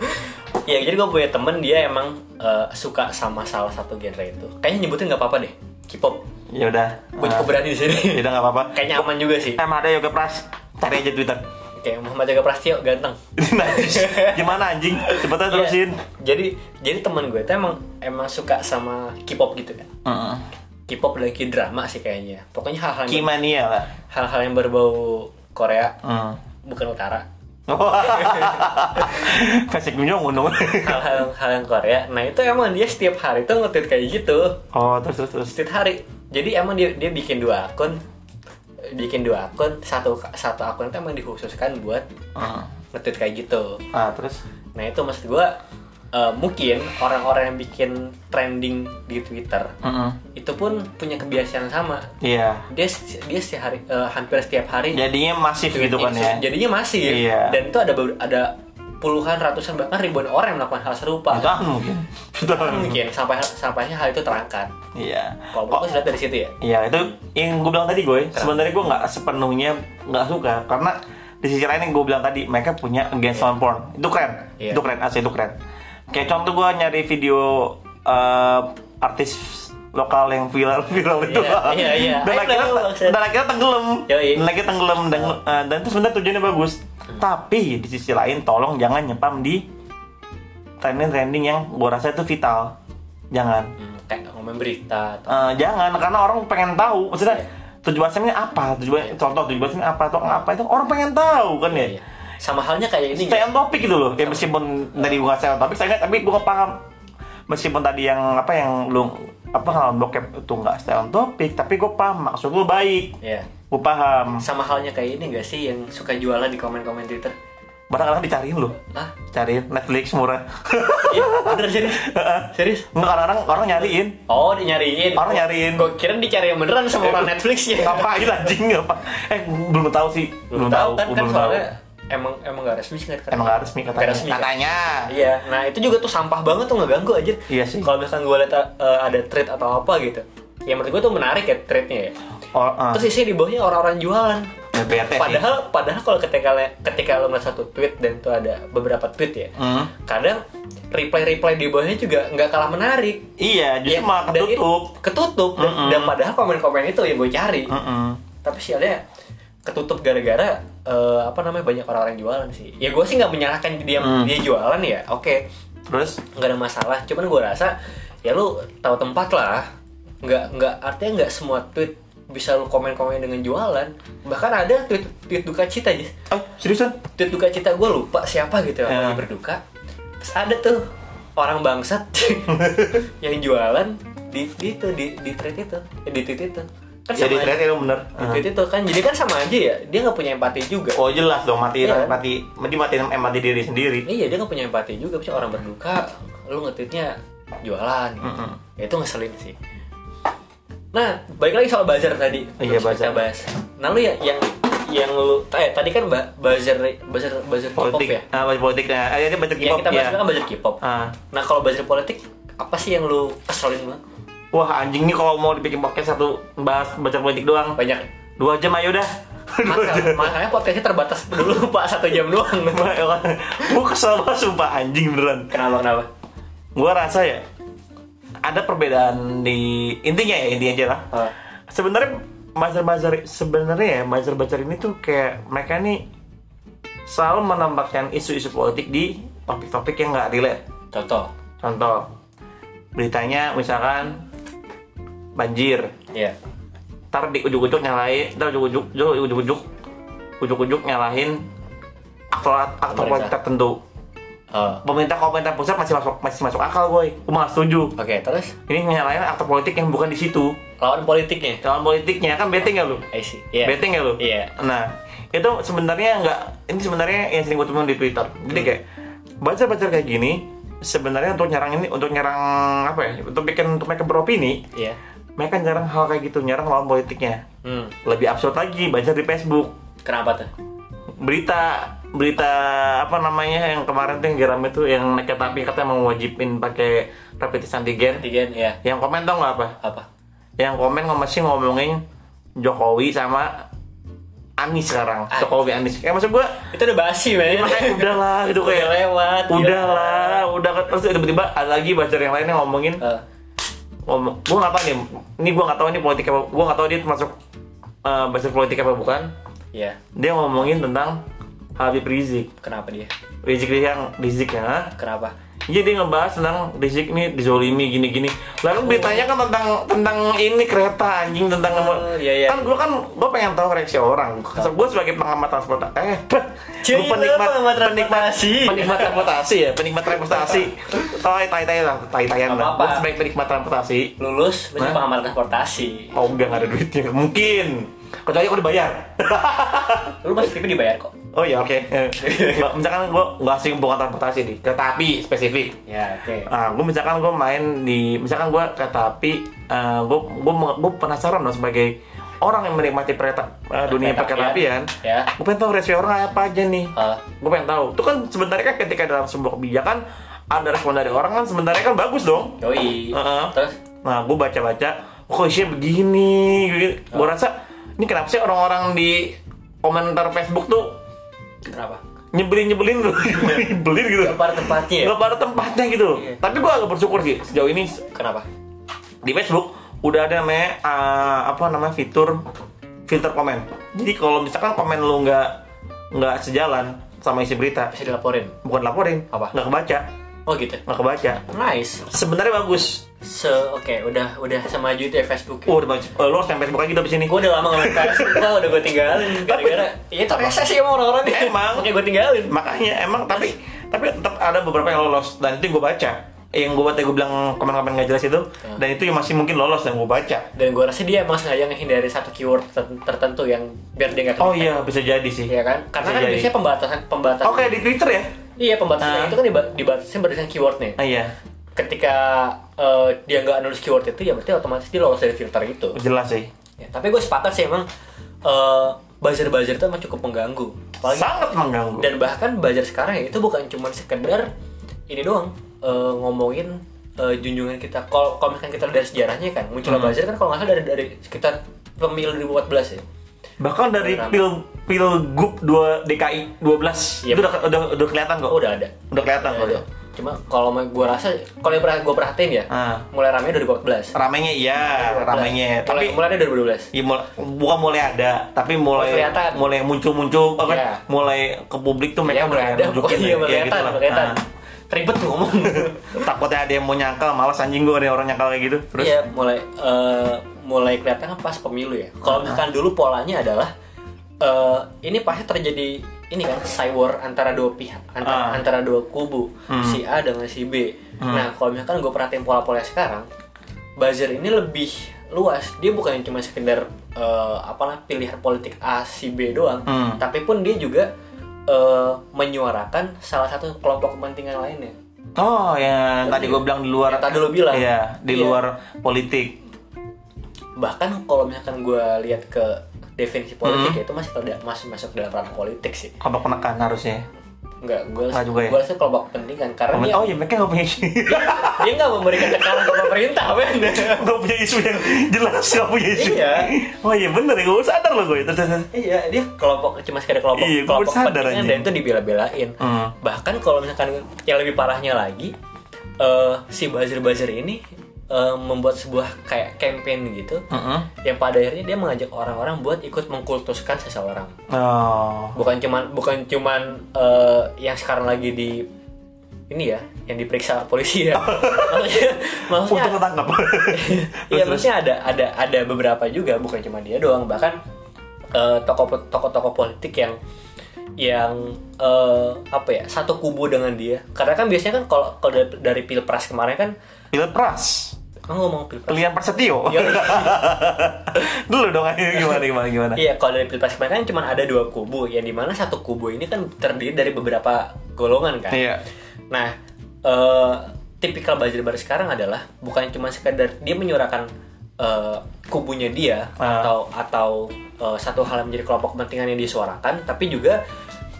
[SPEAKER 2] ya jadi gue punya temen dia emang eh, suka sama salah satu genre itu. Kayaknya nyebutin nggak apa-apa deh. K-pop.
[SPEAKER 1] Ya udah.
[SPEAKER 2] Gue cukup berani di sini.
[SPEAKER 1] Ya udah nggak apa-apa.
[SPEAKER 2] [laughs] Kayaknya aman juga sih.
[SPEAKER 1] Emang ada yoga pras. Cari aja Twitter. [laughs]
[SPEAKER 2] Kayak Muhammad Jaga Prastio ganteng.
[SPEAKER 1] Najis. Gimana anjing? Cepetan
[SPEAKER 2] Iya.
[SPEAKER 1] terusin.
[SPEAKER 2] Jadi jadi teman gue itu emang emang suka sama K-pop gitu kan.
[SPEAKER 1] Heeh.
[SPEAKER 2] K-pop dan K-drama sih kayaknya. Pokoknya hal-hal yang,
[SPEAKER 1] Kimania lah.
[SPEAKER 2] hal-hal yang berbau Korea
[SPEAKER 1] [laughs] Hmm.
[SPEAKER 2] bukan utara.
[SPEAKER 1] Kasih kunjung undung.
[SPEAKER 2] Hal-hal hal yang Korea. Nah itu emang dia setiap hari tuh nge-tweet kayak gitu.
[SPEAKER 1] Oh terus terus terus.
[SPEAKER 2] Setiap hari. Jadi emang dia dia bikin dua akun bikin dua akun satu satu akun itu emang dikhususkan buat
[SPEAKER 1] Hmm.
[SPEAKER 2] nge-tweet kayak gitu.
[SPEAKER 1] Ah terus.
[SPEAKER 2] Nah itu maksud gue eh, mungkin orang-orang yang bikin trending di Twitter
[SPEAKER 1] Heeh.
[SPEAKER 2] itu pun punya kebiasaan sama.
[SPEAKER 1] Iya.
[SPEAKER 2] Dia se- dia sehari, eh, hampir setiap hari
[SPEAKER 1] Jadinya masif gitu kan ya.
[SPEAKER 2] Jadinya masih.
[SPEAKER 1] Iya.
[SPEAKER 2] Dan itu ada ber- ada puluhan, ratusan bahkan ribuan orang yang melakukan hal serupa.
[SPEAKER 1] Jutaan mungkin. Jutaan.
[SPEAKER 2] Mungkin sampai sampainya hal itu terangkat.
[SPEAKER 1] Iya. Kok-
[SPEAKER 2] Kalau menurut gua sudah dari situ ya.
[SPEAKER 1] Iya itu yang gue bilang tadi gue sebenarnya gue nggak sepenuhnya nggak suka karena di sisi lain yang gue bilang tadi mereka punya against on porn itu keren
[SPEAKER 2] Iya.
[SPEAKER 1] itu keren asli itu keren kayak contoh gue nyari video eh, artis lokal yang viral viral itu
[SPEAKER 2] Iya, iya, iya.
[SPEAKER 1] [laughs] dan
[SPEAKER 2] I
[SPEAKER 1] akhirnya
[SPEAKER 2] know, maksud-
[SPEAKER 1] dan akhirnya tenggelam
[SPEAKER 2] Yoi. Hmm.
[SPEAKER 1] dan akhirnya tenggelam dan, eh, dan itu sebenarnya tujuannya bagus tapi di sisi lain tolong jangan nyepam di trending trending yang gue rasa itu vital jangan
[SPEAKER 2] Hmm, kayak ngomongin berita atau
[SPEAKER 1] Eh, jangan karena orang pengen tahu maksudnya
[SPEAKER 2] Iya.
[SPEAKER 1] tujuan SM ini apa tujuan contoh tujuan SM ini apa atau apa itu orang pengen tahu kan ya
[SPEAKER 2] Iya. sama halnya kayak ini.
[SPEAKER 1] stay on topic gitu loh ya meskipun dari gua stay on topic saya nggak- tapi gua paham meskipun tadi yang apa yang lu apa ngalamin bokep itu nggak stay on topic tapi gua paham maksud lu baik
[SPEAKER 2] Ya.
[SPEAKER 1] gua paham
[SPEAKER 2] Sama halnya kayak ini gak sih yang suka jualan di komen-komen Twitter?
[SPEAKER 1] barang-barang dicariin loh
[SPEAKER 2] Hah?
[SPEAKER 1] cariin Netflix murah [laughs]
[SPEAKER 2] Iya, bener serius. serius.
[SPEAKER 1] nggak kadang-kadang orang nyariin
[SPEAKER 2] Oh, dinyariin.
[SPEAKER 1] Orang nyariin.
[SPEAKER 2] Gue kira dicari yang beneran sama orang Netflixnya.
[SPEAKER 1] ngapain anjing apa eh gua belum tahu sih
[SPEAKER 2] Iya. Belum tahu kan kan
[SPEAKER 1] belum tahu
[SPEAKER 2] soalnya emang emang gak resmi sih nggak
[SPEAKER 1] emang nggak resmi katanya
[SPEAKER 2] Nggak resmi, kan?
[SPEAKER 1] katanya
[SPEAKER 2] Iya. Nah itu juga tuh sampah banget tuh ngeganggu aja.
[SPEAKER 1] Iya sih.
[SPEAKER 2] Kalau misalkan gue liat eh, ada thread atau apa gitu, ya menurut gue tuh menarik ya threadnya ya.
[SPEAKER 1] Oh, ah.
[SPEAKER 2] Terus isinya di bawahnya orang-orang jualan.
[SPEAKER 1] Ya, bete sih.
[SPEAKER 2] Padahal padahal kalau ketika le- ketika lo ngeliat satu tweet dan itu ada beberapa tweet ya,
[SPEAKER 1] Hmm.
[SPEAKER 2] kadang reply-reply di bawahnya juga nggak kalah menarik.
[SPEAKER 1] Iya, justru
[SPEAKER 2] Ya,
[SPEAKER 1] malah
[SPEAKER 2] dan ini-
[SPEAKER 1] ketutup. Hmm.
[SPEAKER 2] ketutup. Dan, dan padahal komen-komen itu yang gue cari.
[SPEAKER 1] Mm-mm.
[SPEAKER 2] Tapi sialnya ketutup gara-gara eh, apa namanya banyak orang-orang jualan sih. Ya gue sih nggak menyalahkan dia
[SPEAKER 1] Hmm.
[SPEAKER 2] dia jualan ya. Oke,
[SPEAKER 1] Terus
[SPEAKER 2] nggak ada masalah. Cuman gue rasa ya lu tahu tempat lah. Nggak nggak artinya nggak semua tweet bisa lu komen-komen dengan jualan. Bahkan ada tweet tweet duka cita Jis.
[SPEAKER 1] Oh, seriusan?
[SPEAKER 2] Tweet duka cita gue lupa siapa gitu yang
[SPEAKER 1] Ya.
[SPEAKER 2] lagi berduka. Terus ada tuh orang bangsat [laughs] yang jualan di, di itu di di thread itu Eh, di tweet itu kan
[SPEAKER 1] Ya di
[SPEAKER 2] sama
[SPEAKER 1] thread
[SPEAKER 2] aja.
[SPEAKER 1] itu bener
[SPEAKER 2] Di tweet itu kan jadi kan sama aja ya dia nggak punya empati juga
[SPEAKER 1] Oh jelas dong mati
[SPEAKER 2] Iya.
[SPEAKER 1] mati mati mati mati diri sendiri.
[SPEAKER 2] Iya dia nggak punya empati juga Maksudnya
[SPEAKER 1] Hmm.
[SPEAKER 2] orang berduka Lu ngetweetnya jualan gitu.
[SPEAKER 1] Mm-mm.
[SPEAKER 2] Ya, Itu ngeselin sih Nah balik lagi soal buzzer tadi
[SPEAKER 1] Iya,
[SPEAKER 2] Terus kita
[SPEAKER 1] buzzer.
[SPEAKER 2] bahas Nah lu ya yang yang lu eh tadi kan ba- buzzer buzzer buzzer K-pop
[SPEAKER 1] Politik,
[SPEAKER 2] ya
[SPEAKER 1] ah baju politik, nah, ah, ini baju
[SPEAKER 2] Yang
[SPEAKER 1] K-pop
[SPEAKER 2] kita bahas
[SPEAKER 1] ya.
[SPEAKER 2] dulu kan buzzer K-pop
[SPEAKER 1] Ah.
[SPEAKER 2] Nah kalau buzzer politik apa sih yang lu keselin banget?
[SPEAKER 1] Wah anjing nih kalau mau dibikin podcast satu bahas baca politik doang, [laughs]
[SPEAKER 2] Banyak
[SPEAKER 1] dua jam ayo dah. [laughs] Dua
[SPEAKER 2] Masa,
[SPEAKER 1] jam. [laughs]
[SPEAKER 2] makanya podcastnya terbatas dulu [laughs] pak satu jam doang
[SPEAKER 1] Gue kesel banget sumpah anjing beneran.
[SPEAKER 2] Kenapa kenapa?
[SPEAKER 1] Gua rasa ya ada perbedaan di intinya ya intinya aja lah.
[SPEAKER 2] Ah.
[SPEAKER 1] sebenarnya bazar-bazar sebenarnya ya bazar-bazar ini tuh kayak mereka nih selalu menambahkan isu-isu politik di topik-topik yang nggak relate.
[SPEAKER 2] Contoh
[SPEAKER 1] Contoh beritanya misalkan banjir,
[SPEAKER 2] Iya
[SPEAKER 1] ntar di ujuk-ujuk nyalain, ntar ujuk-ujuk ujuk-ujuk ujuk-ujuk nyalahin aktor aktor
[SPEAKER 2] Pemerintah.
[SPEAKER 1] politik tertentu.
[SPEAKER 2] Eh,
[SPEAKER 1] Pemerintah kalau pemerintah pusat masih masuk masih masuk akal gue, gue malah setuju.
[SPEAKER 2] Oke terus
[SPEAKER 1] Ini nyalain aktor politik yang bukan di situ.
[SPEAKER 2] lawan politiknya
[SPEAKER 1] Calon politiknya kan bete nggak lu?
[SPEAKER 2] I see. Iya.
[SPEAKER 1] Bete nggak lu?
[SPEAKER 2] Iya.
[SPEAKER 1] Nah, itu sebenarnya nggak ini sebenarnya yang sering gue temuin di Twitter. Jadi
[SPEAKER 2] Hmm.
[SPEAKER 1] kayak baca-baca kayak gini sebenarnya untuk nyerang ini untuk nyerang apa ya? Untuk bikin untuk mereka beropini,
[SPEAKER 2] Iya.
[SPEAKER 1] mereka nyerang hal kayak gitu, nyerang lawan politiknya.
[SPEAKER 2] Hmm.
[SPEAKER 1] Lebih absurd lagi baca di Facebook
[SPEAKER 2] Kenapa tuh?
[SPEAKER 1] berita berita apa namanya yang kemarin tuh yang geram itu yang naik kereta api katanya mau wajibin pakai rapid test antigen
[SPEAKER 2] Antigen ya.
[SPEAKER 1] yang komen tau nggak apa
[SPEAKER 2] Apa?
[SPEAKER 1] yang komen nggak masih ngomongin Jokowi sama Anies sekarang
[SPEAKER 2] Anies.
[SPEAKER 1] Jokowi Anies kayak maksud gue
[SPEAKER 2] itu udah basi men
[SPEAKER 1] Iya,
[SPEAKER 2] [laughs]
[SPEAKER 1] makanya udahlah gitu
[SPEAKER 2] udah
[SPEAKER 1] kayak
[SPEAKER 2] lewat iya.
[SPEAKER 1] udahlah udah kan. terus tiba-tiba ada lagi baca yang lainnya ngomongin
[SPEAKER 2] Eh,
[SPEAKER 1] ngomong gue nggak tahu nih ini gue nggak tahu ini politik apa gue nggak tahu dia masuk eh baca politik apa bukan
[SPEAKER 2] Iya,
[SPEAKER 1] dia ngomongin tentang Habib Rizik
[SPEAKER 2] kenapa dia
[SPEAKER 1] Rizik yang Rizik ya
[SPEAKER 2] kenapa
[SPEAKER 1] Iya dia ngebahas tentang Rizik nih dizolimi gini-gini. Lalu beritanya kan tentang tentang ini kereta anjing tentang
[SPEAKER 2] Oh, iya, iya.
[SPEAKER 1] kan gue kan gue pengen tahu reaksi orang. Gue sebagai pengamat transportasi eh [laughs]
[SPEAKER 2] Cih,
[SPEAKER 1] gue penikmat
[SPEAKER 2] lu pengamat transportasi.
[SPEAKER 1] penikmat transportasi ya penikmat
[SPEAKER 2] [laughs]
[SPEAKER 1] transportasi. Tai tai tai lah tai taian
[SPEAKER 2] Nggak
[SPEAKER 1] lah.
[SPEAKER 2] apa-apa.
[SPEAKER 1] Gue sebagai penikmat transportasi
[SPEAKER 2] lulus berarti
[SPEAKER 1] Hah?
[SPEAKER 2] pengamat transportasi
[SPEAKER 1] mau enggak nggak ada duitnya mungkin. Kecuali aku
[SPEAKER 2] [laughs]
[SPEAKER 1] dibayar.
[SPEAKER 2] lu masih tipe dibayar kok
[SPEAKER 1] oh iya
[SPEAKER 2] [laughs]
[SPEAKER 1] oke. Eh, Misalkan gue nggak asing bukan transportasi nih kereta api spesifik.
[SPEAKER 2] ya oke
[SPEAKER 1] Nah, gue misalkan gue main di, misalkan gue kereta api, eh, gue gue mau- gue penasaran loh sebagai orang yang menikmati pereta, eh, dunia perkereta
[SPEAKER 2] Perkereta
[SPEAKER 1] apian.
[SPEAKER 2] apian. Ya.
[SPEAKER 1] Gue pengen tahu reaksi orang apa aja nih.
[SPEAKER 2] Eh,
[SPEAKER 1] Gue pengen tahu. Itu kan sebenarnya kan ketika dalam sebuah kebijakan ada respon dari orang kan sebenarnya kan bagus dong.
[SPEAKER 2] yoi
[SPEAKER 1] Heeh.
[SPEAKER 2] terus
[SPEAKER 1] Nah, gue baca-baca, kok isinya begini, gue
[SPEAKER 2] Ah.
[SPEAKER 1] rasa ini kenapa sih orang-orang di komentar Facebook tuh
[SPEAKER 2] kenapa
[SPEAKER 1] nyebelin nyebelin gitu, [laughs] nyebelin gitu.
[SPEAKER 2] Gak pada tempatnya ya?
[SPEAKER 1] Gak pada tempatnya gitu.
[SPEAKER 2] Iya.
[SPEAKER 1] Tapi gue agak bersyukur sih sejauh ini
[SPEAKER 2] Kenapa?
[SPEAKER 1] di Facebook udah ada namanya eh, apa namanya fitur filter komen. Jadi kalau misalkan komen lu nggak nggak sejalan sama isi berita,
[SPEAKER 2] Bisa dilaporin.
[SPEAKER 1] bukan laporin,
[SPEAKER 2] Apa?
[SPEAKER 1] nggak kebaca,
[SPEAKER 2] Oh gitu.
[SPEAKER 1] nggak kebaca.
[SPEAKER 2] Nice.
[SPEAKER 1] Sebenarnya bagus.
[SPEAKER 2] Se oke udah udah semaju itu ya Facebook.
[SPEAKER 1] Oh, udah bagus. Eh, lu harus main Facebook lagi gitu abis ini.
[SPEAKER 2] Gue udah lama nggak main Facebook, lah, udah gue tinggalin gara-gara ya terasa sih emang orang-orang ya? nih.
[SPEAKER 1] Emang.
[SPEAKER 2] Makanya gue tinggalin.
[SPEAKER 1] Makanya emang tapi tapi tetap ada beberapa yang lolos dan itu gue baca. Yang gue baca gue bilang komen-komen nggak jelas itu
[SPEAKER 2] Hmm.
[SPEAKER 1] dan itu yang masih mungkin lolos dan gue baca.
[SPEAKER 2] Dan gue rasa dia emang sengaja ngehindari satu keyword ter- tertentu yang biar dia nggak
[SPEAKER 1] Oh
[SPEAKER 2] kena.
[SPEAKER 1] iya bisa jadi sih.
[SPEAKER 2] Iya kan? Karena
[SPEAKER 1] Bisa
[SPEAKER 2] kan
[SPEAKER 1] jadi.
[SPEAKER 2] biasanya pembatasan pembatasan.
[SPEAKER 1] Oke di Twitter ya?
[SPEAKER 2] Iya pembatasan
[SPEAKER 1] Ah.
[SPEAKER 2] itu kan diba- dibatasin berdasarkan keywordnya.
[SPEAKER 1] Ah, iya
[SPEAKER 2] Ketika eh, dia nggak nulis keyword itu ya berarti otomatis dia lolos dari filter itu.
[SPEAKER 1] jelas sih.
[SPEAKER 2] Ya, tapi gue sepakat sih emang eh, buzzer-buzzer itu emang cukup mengganggu. Apalagi-
[SPEAKER 1] Sangat mengganggu.
[SPEAKER 2] dan bahkan buzzer sekarang ya itu bukan cuma sekedar ini doang eh, ngomongin eh, junjungan kita. Kalau kalau misalkan kita lihat dari sejarahnya kan munculnya
[SPEAKER 1] Hmm.
[SPEAKER 2] buzzer kan kalau nggak salah dari, dari sekitar pemilu 2014 ya.
[SPEAKER 1] Bahkan dari
[SPEAKER 2] Kenapa?
[SPEAKER 1] pil pilgub 2 DKI 12
[SPEAKER 2] Iya.
[SPEAKER 1] itu udah, udah udah kelihatan kok.
[SPEAKER 2] Oh, udah Iya, ada.
[SPEAKER 1] Udah kelihatan kok.
[SPEAKER 2] Ada. Cuma kalau mau- gue rasa kalau yang pernah gue perhatiin ya
[SPEAKER 1] Ah.
[SPEAKER 2] mulai ramai 2014.
[SPEAKER 1] Ramainya iya, ramainya.
[SPEAKER 2] Mulai-
[SPEAKER 1] Tapi
[SPEAKER 2] mulai, ada 2012.
[SPEAKER 1] ya, mulai, bukan mulai ada, tapi mulai
[SPEAKER 2] kelihatan.
[SPEAKER 1] mulai muncul-muncul apa kan?
[SPEAKER 2] Iya.
[SPEAKER 1] mulai ke publik tuh mereka
[SPEAKER 2] Ya mulai
[SPEAKER 1] mulai
[SPEAKER 2] ada. Oh,
[SPEAKER 1] nunjukin ya,
[SPEAKER 2] iya, mulai
[SPEAKER 1] gitu
[SPEAKER 2] kelihatan,
[SPEAKER 1] lah.
[SPEAKER 2] mulai kelihatan.
[SPEAKER 1] Nah,
[SPEAKER 2] Ribet tuh
[SPEAKER 1] [laughs]
[SPEAKER 2] ngomong.
[SPEAKER 1] takutnya ada yang mau nyangkal, malas anjing gua ada orang nyangkal kayak gitu. Terus
[SPEAKER 2] Iya, mulai eh, mulai kelihatan kan pas pemilu ya. Kalau misalkan dulu polanya adalah eh, ini pasti terjadi ini kan cyber antara dua pihak, antara,
[SPEAKER 1] Ah. Hmm.
[SPEAKER 2] antara dua kubu, si A dengan si B. Nah, kalau misalkan gue perhatiin pola-pola sekarang, buzzer ini lebih luas. Dia bukan cuma sekedar eh, apalah pilihan politik A si B doang,
[SPEAKER 1] Hmm.
[SPEAKER 2] tapi pun dia juga eh, menyuarakan salah satu kelompok kepentingan lainnya.
[SPEAKER 1] Oh, yang tadi gua bilang di luar
[SPEAKER 2] Yang tadi lu bilang.
[SPEAKER 1] Iya, di
[SPEAKER 2] Iya.
[SPEAKER 1] luar politik.
[SPEAKER 2] bahkan kalau misalkan gue lihat ke definisi politik ya,
[SPEAKER 1] Mm-hmm.
[SPEAKER 2] itu masih terda- masih masuk dalam ranah politik sih
[SPEAKER 1] Apa penekan harusnya?
[SPEAKER 2] nggak gue
[SPEAKER 1] Ah, juga ya?
[SPEAKER 2] gue rasa kelompok kepentingan karena dia
[SPEAKER 1] Oh iya, mereka nggak punya
[SPEAKER 2] [laughs]
[SPEAKER 1] [laughs]
[SPEAKER 2] dia nggak memberikan tekanan ke pemerintah men
[SPEAKER 1] nggak punya isu yang jelas nggak punya isu
[SPEAKER 2] Iya.
[SPEAKER 1] oh iya bener ya gue baru sadar loh gue terus terus terus.
[SPEAKER 2] iya dia kelompok cuma sekedar kelompok
[SPEAKER 1] Iya, gue
[SPEAKER 2] kelompok
[SPEAKER 1] sadar,
[SPEAKER 2] kepentingan
[SPEAKER 1] anjing.
[SPEAKER 2] dan itu dibela-belain
[SPEAKER 1] Hmm.
[SPEAKER 2] bahkan kalau misalkan yang lebih parahnya lagi eh, si buzzer-buzzer ini eh, membuat sebuah kayak campaign gitu
[SPEAKER 1] Mm-mm.
[SPEAKER 2] yang pada akhirnya dia mengajak orang-orang buat ikut mengkultuskan seseorang
[SPEAKER 1] oh
[SPEAKER 2] bukan cuman bukan cuman eh, yang sekarang lagi di ini ya yang diperiksa polisi ya maksudnya maksudnya
[SPEAKER 1] untung ketangkap
[SPEAKER 2] [laughs] iya maksudnya ada ada ada beberapa juga bukan cuma dia doang bahkan eh, tokoh tokoh-tokoh politik yang yang eh, apa ya satu kubu dengan dia karena kan biasanya kan kalau kalau dari, dari pilpres kemarin kan
[SPEAKER 1] pilpres
[SPEAKER 2] kan ngomong pilpres
[SPEAKER 1] pilihan persetio
[SPEAKER 2] Iya.
[SPEAKER 1] [laughs] dulu dong ayo gimana gimana gimana
[SPEAKER 2] Iya, kalau dari pilpres kemarin kan cuma ada dua kubu, yang dimana satu kubu ini kan terdiri dari beberapa golongan kan.
[SPEAKER 1] iya
[SPEAKER 2] Nah, eh, tipikal buzzer baru sekarang adalah bukan cuma sekedar dia menyuarakan eh, kubunya dia
[SPEAKER 1] Ah.
[SPEAKER 2] atau atau eh, satu hal yang menjadi kelompok kepentingan yang disuarakan, tapi juga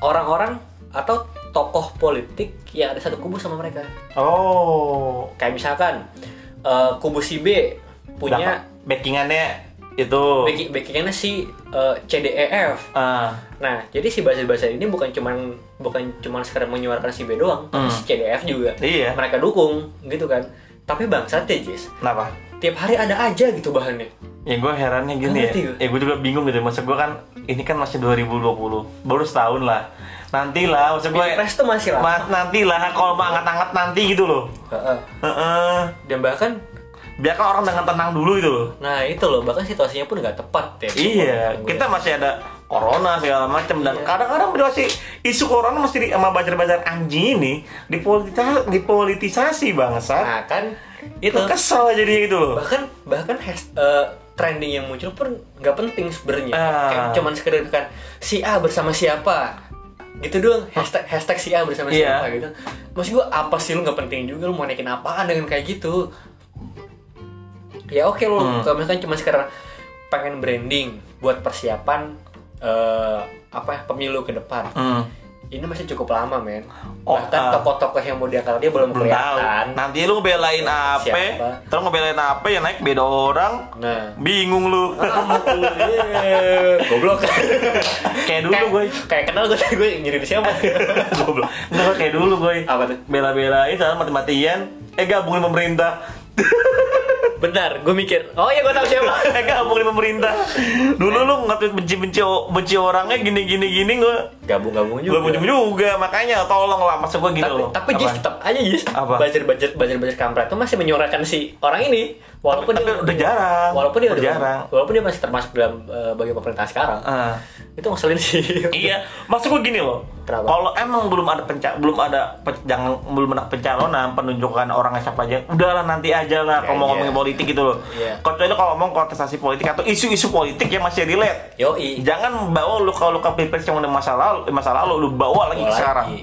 [SPEAKER 2] orang-orang atau tokoh politik yang ada satu kubu sama mereka.
[SPEAKER 1] oh
[SPEAKER 2] Kayak misalkan eh, kubu si B punya
[SPEAKER 1] backingannya itu
[SPEAKER 2] Backing, backingannya si eh, CDEF.
[SPEAKER 1] ah
[SPEAKER 2] Nah, jadi si bahasa-bahasa ini bukan cuman bukan cuman sekedar menyuarakan si B doang, tapi
[SPEAKER 1] Hmm.
[SPEAKER 2] si CDF juga.
[SPEAKER 1] Iya.
[SPEAKER 2] Mereka dukung gitu kan. Tapi bangsat ya, Jis.
[SPEAKER 1] kenapa
[SPEAKER 2] Tiap hari ada aja gitu bahannya.
[SPEAKER 1] ya gue herannya gini ya,
[SPEAKER 2] Ngerti gua.
[SPEAKER 1] ya gue juga bingung gitu maksud gue kan ini kan masih 2020 baru setahun lah nantilah maksud gue
[SPEAKER 2] Pilpres tuh masih lama.
[SPEAKER 1] mas nantilah kalau mau angkat-angkat nanti gitu loh
[SPEAKER 2] Heeh.
[SPEAKER 1] Heeh.
[SPEAKER 2] Dan bahkan
[SPEAKER 1] biarkan orang dengan tenang dulu gitu loh
[SPEAKER 2] nah itu loh, bahkan situasinya pun nggak tepat ya.
[SPEAKER 1] Iya, kita masih ada corona segala macam dan
[SPEAKER 2] Iya.
[SPEAKER 1] kadang-kadang masih isu corona mesti di, sama bajar-bajar anjing ini dipolitisa, dipolitisasi bangsa.
[SPEAKER 2] Nah, kan itu
[SPEAKER 1] Itu kesel jadinya gitu loh.
[SPEAKER 2] bahkan bahkan has- eh, trending yang muncul pun nggak penting sebenarnya
[SPEAKER 1] Ah.
[SPEAKER 2] Kayak cuman sekedar kan si A bersama siapa gitu doang hashtag hashtag si A bersama
[SPEAKER 1] Iya.
[SPEAKER 2] siapa gitu maksud gua apa sih lu nggak penting juga lu mau naikin apaan dengan kayak gitu ya oke lu
[SPEAKER 1] Hmm.
[SPEAKER 2] kalau misalkan cuma sekedar pengen branding buat persiapan eh, apa ya, pemilu ke depan
[SPEAKER 1] Hmm.
[SPEAKER 2] ini masih cukup lama men
[SPEAKER 1] Oh,
[SPEAKER 2] bahkan
[SPEAKER 1] ah.
[SPEAKER 2] tokoh-tokoh yang mau diangkat dia belum,
[SPEAKER 1] Belum tahu. Nah.
[SPEAKER 2] kelihatan
[SPEAKER 1] Nanti lu ngebelain apa?
[SPEAKER 2] Siapa?
[SPEAKER 1] Terus ngebelain apa yang naik beda orang?
[SPEAKER 2] nah
[SPEAKER 1] Bingung
[SPEAKER 2] [laughs]
[SPEAKER 1] lu.
[SPEAKER 2] Iya. goblok
[SPEAKER 1] kayak dulu gue.
[SPEAKER 2] Kayak- kayak kenal [laughs] gue gue nyari di siapa
[SPEAKER 1] [laughs] Goblok. Enggak kayak dulu gue.
[SPEAKER 2] apa tuh
[SPEAKER 1] Bela-belain sama mati-matian eh gabungin pemerintah.
[SPEAKER 2] benar gue mikir oh iya gue tahu siapa
[SPEAKER 1] [laughs] eh gabungin pemerintah. Dulu lu nge-tweet benci-benci benci orangnya gini-gini gini gue
[SPEAKER 2] gabung gabung juga
[SPEAKER 1] Belum ujung juga, makanya tolong lah masa gue gitu
[SPEAKER 2] tapi,
[SPEAKER 1] loh.
[SPEAKER 2] tapi
[SPEAKER 1] Apa?
[SPEAKER 2] Jis tetap aja Jis
[SPEAKER 1] Apa?
[SPEAKER 2] Buzzer buzzer buzzer buzzer kampret tuh masih menyuarakan si orang ini walaupun
[SPEAKER 1] Tapi udah jarang.
[SPEAKER 2] walaupun dia
[SPEAKER 1] Udah
[SPEAKER 2] udah-
[SPEAKER 1] jarang.
[SPEAKER 2] walaupun dia masih termasuk dalam eh, bagi pemerintah sekarang
[SPEAKER 1] Ah.
[SPEAKER 2] itu ngeselin sih [laughs]
[SPEAKER 1] Iya, maksud gue gini loh.
[SPEAKER 2] Kenapa?
[SPEAKER 1] Kalau emang belum ada penca belum ada pe- jangan belum ada pencalonan penunjukan orangnya siapa aja, udahlah nanti aja lah kalau mau
[SPEAKER 2] iya.
[SPEAKER 1] ngomongin politik gitu loh.
[SPEAKER 2] Iya.
[SPEAKER 1] Kecuali kalau ngomong kontestasi politik atau isu-isu politik yang masih relate.
[SPEAKER 2] yoi
[SPEAKER 1] Jangan bawa lu kalau lu ke pilpres yang udah masa lalu, eh, masa lalu lu bawa lagi ke
[SPEAKER 2] Bawa
[SPEAKER 1] sekarang.
[SPEAKER 2] lagi.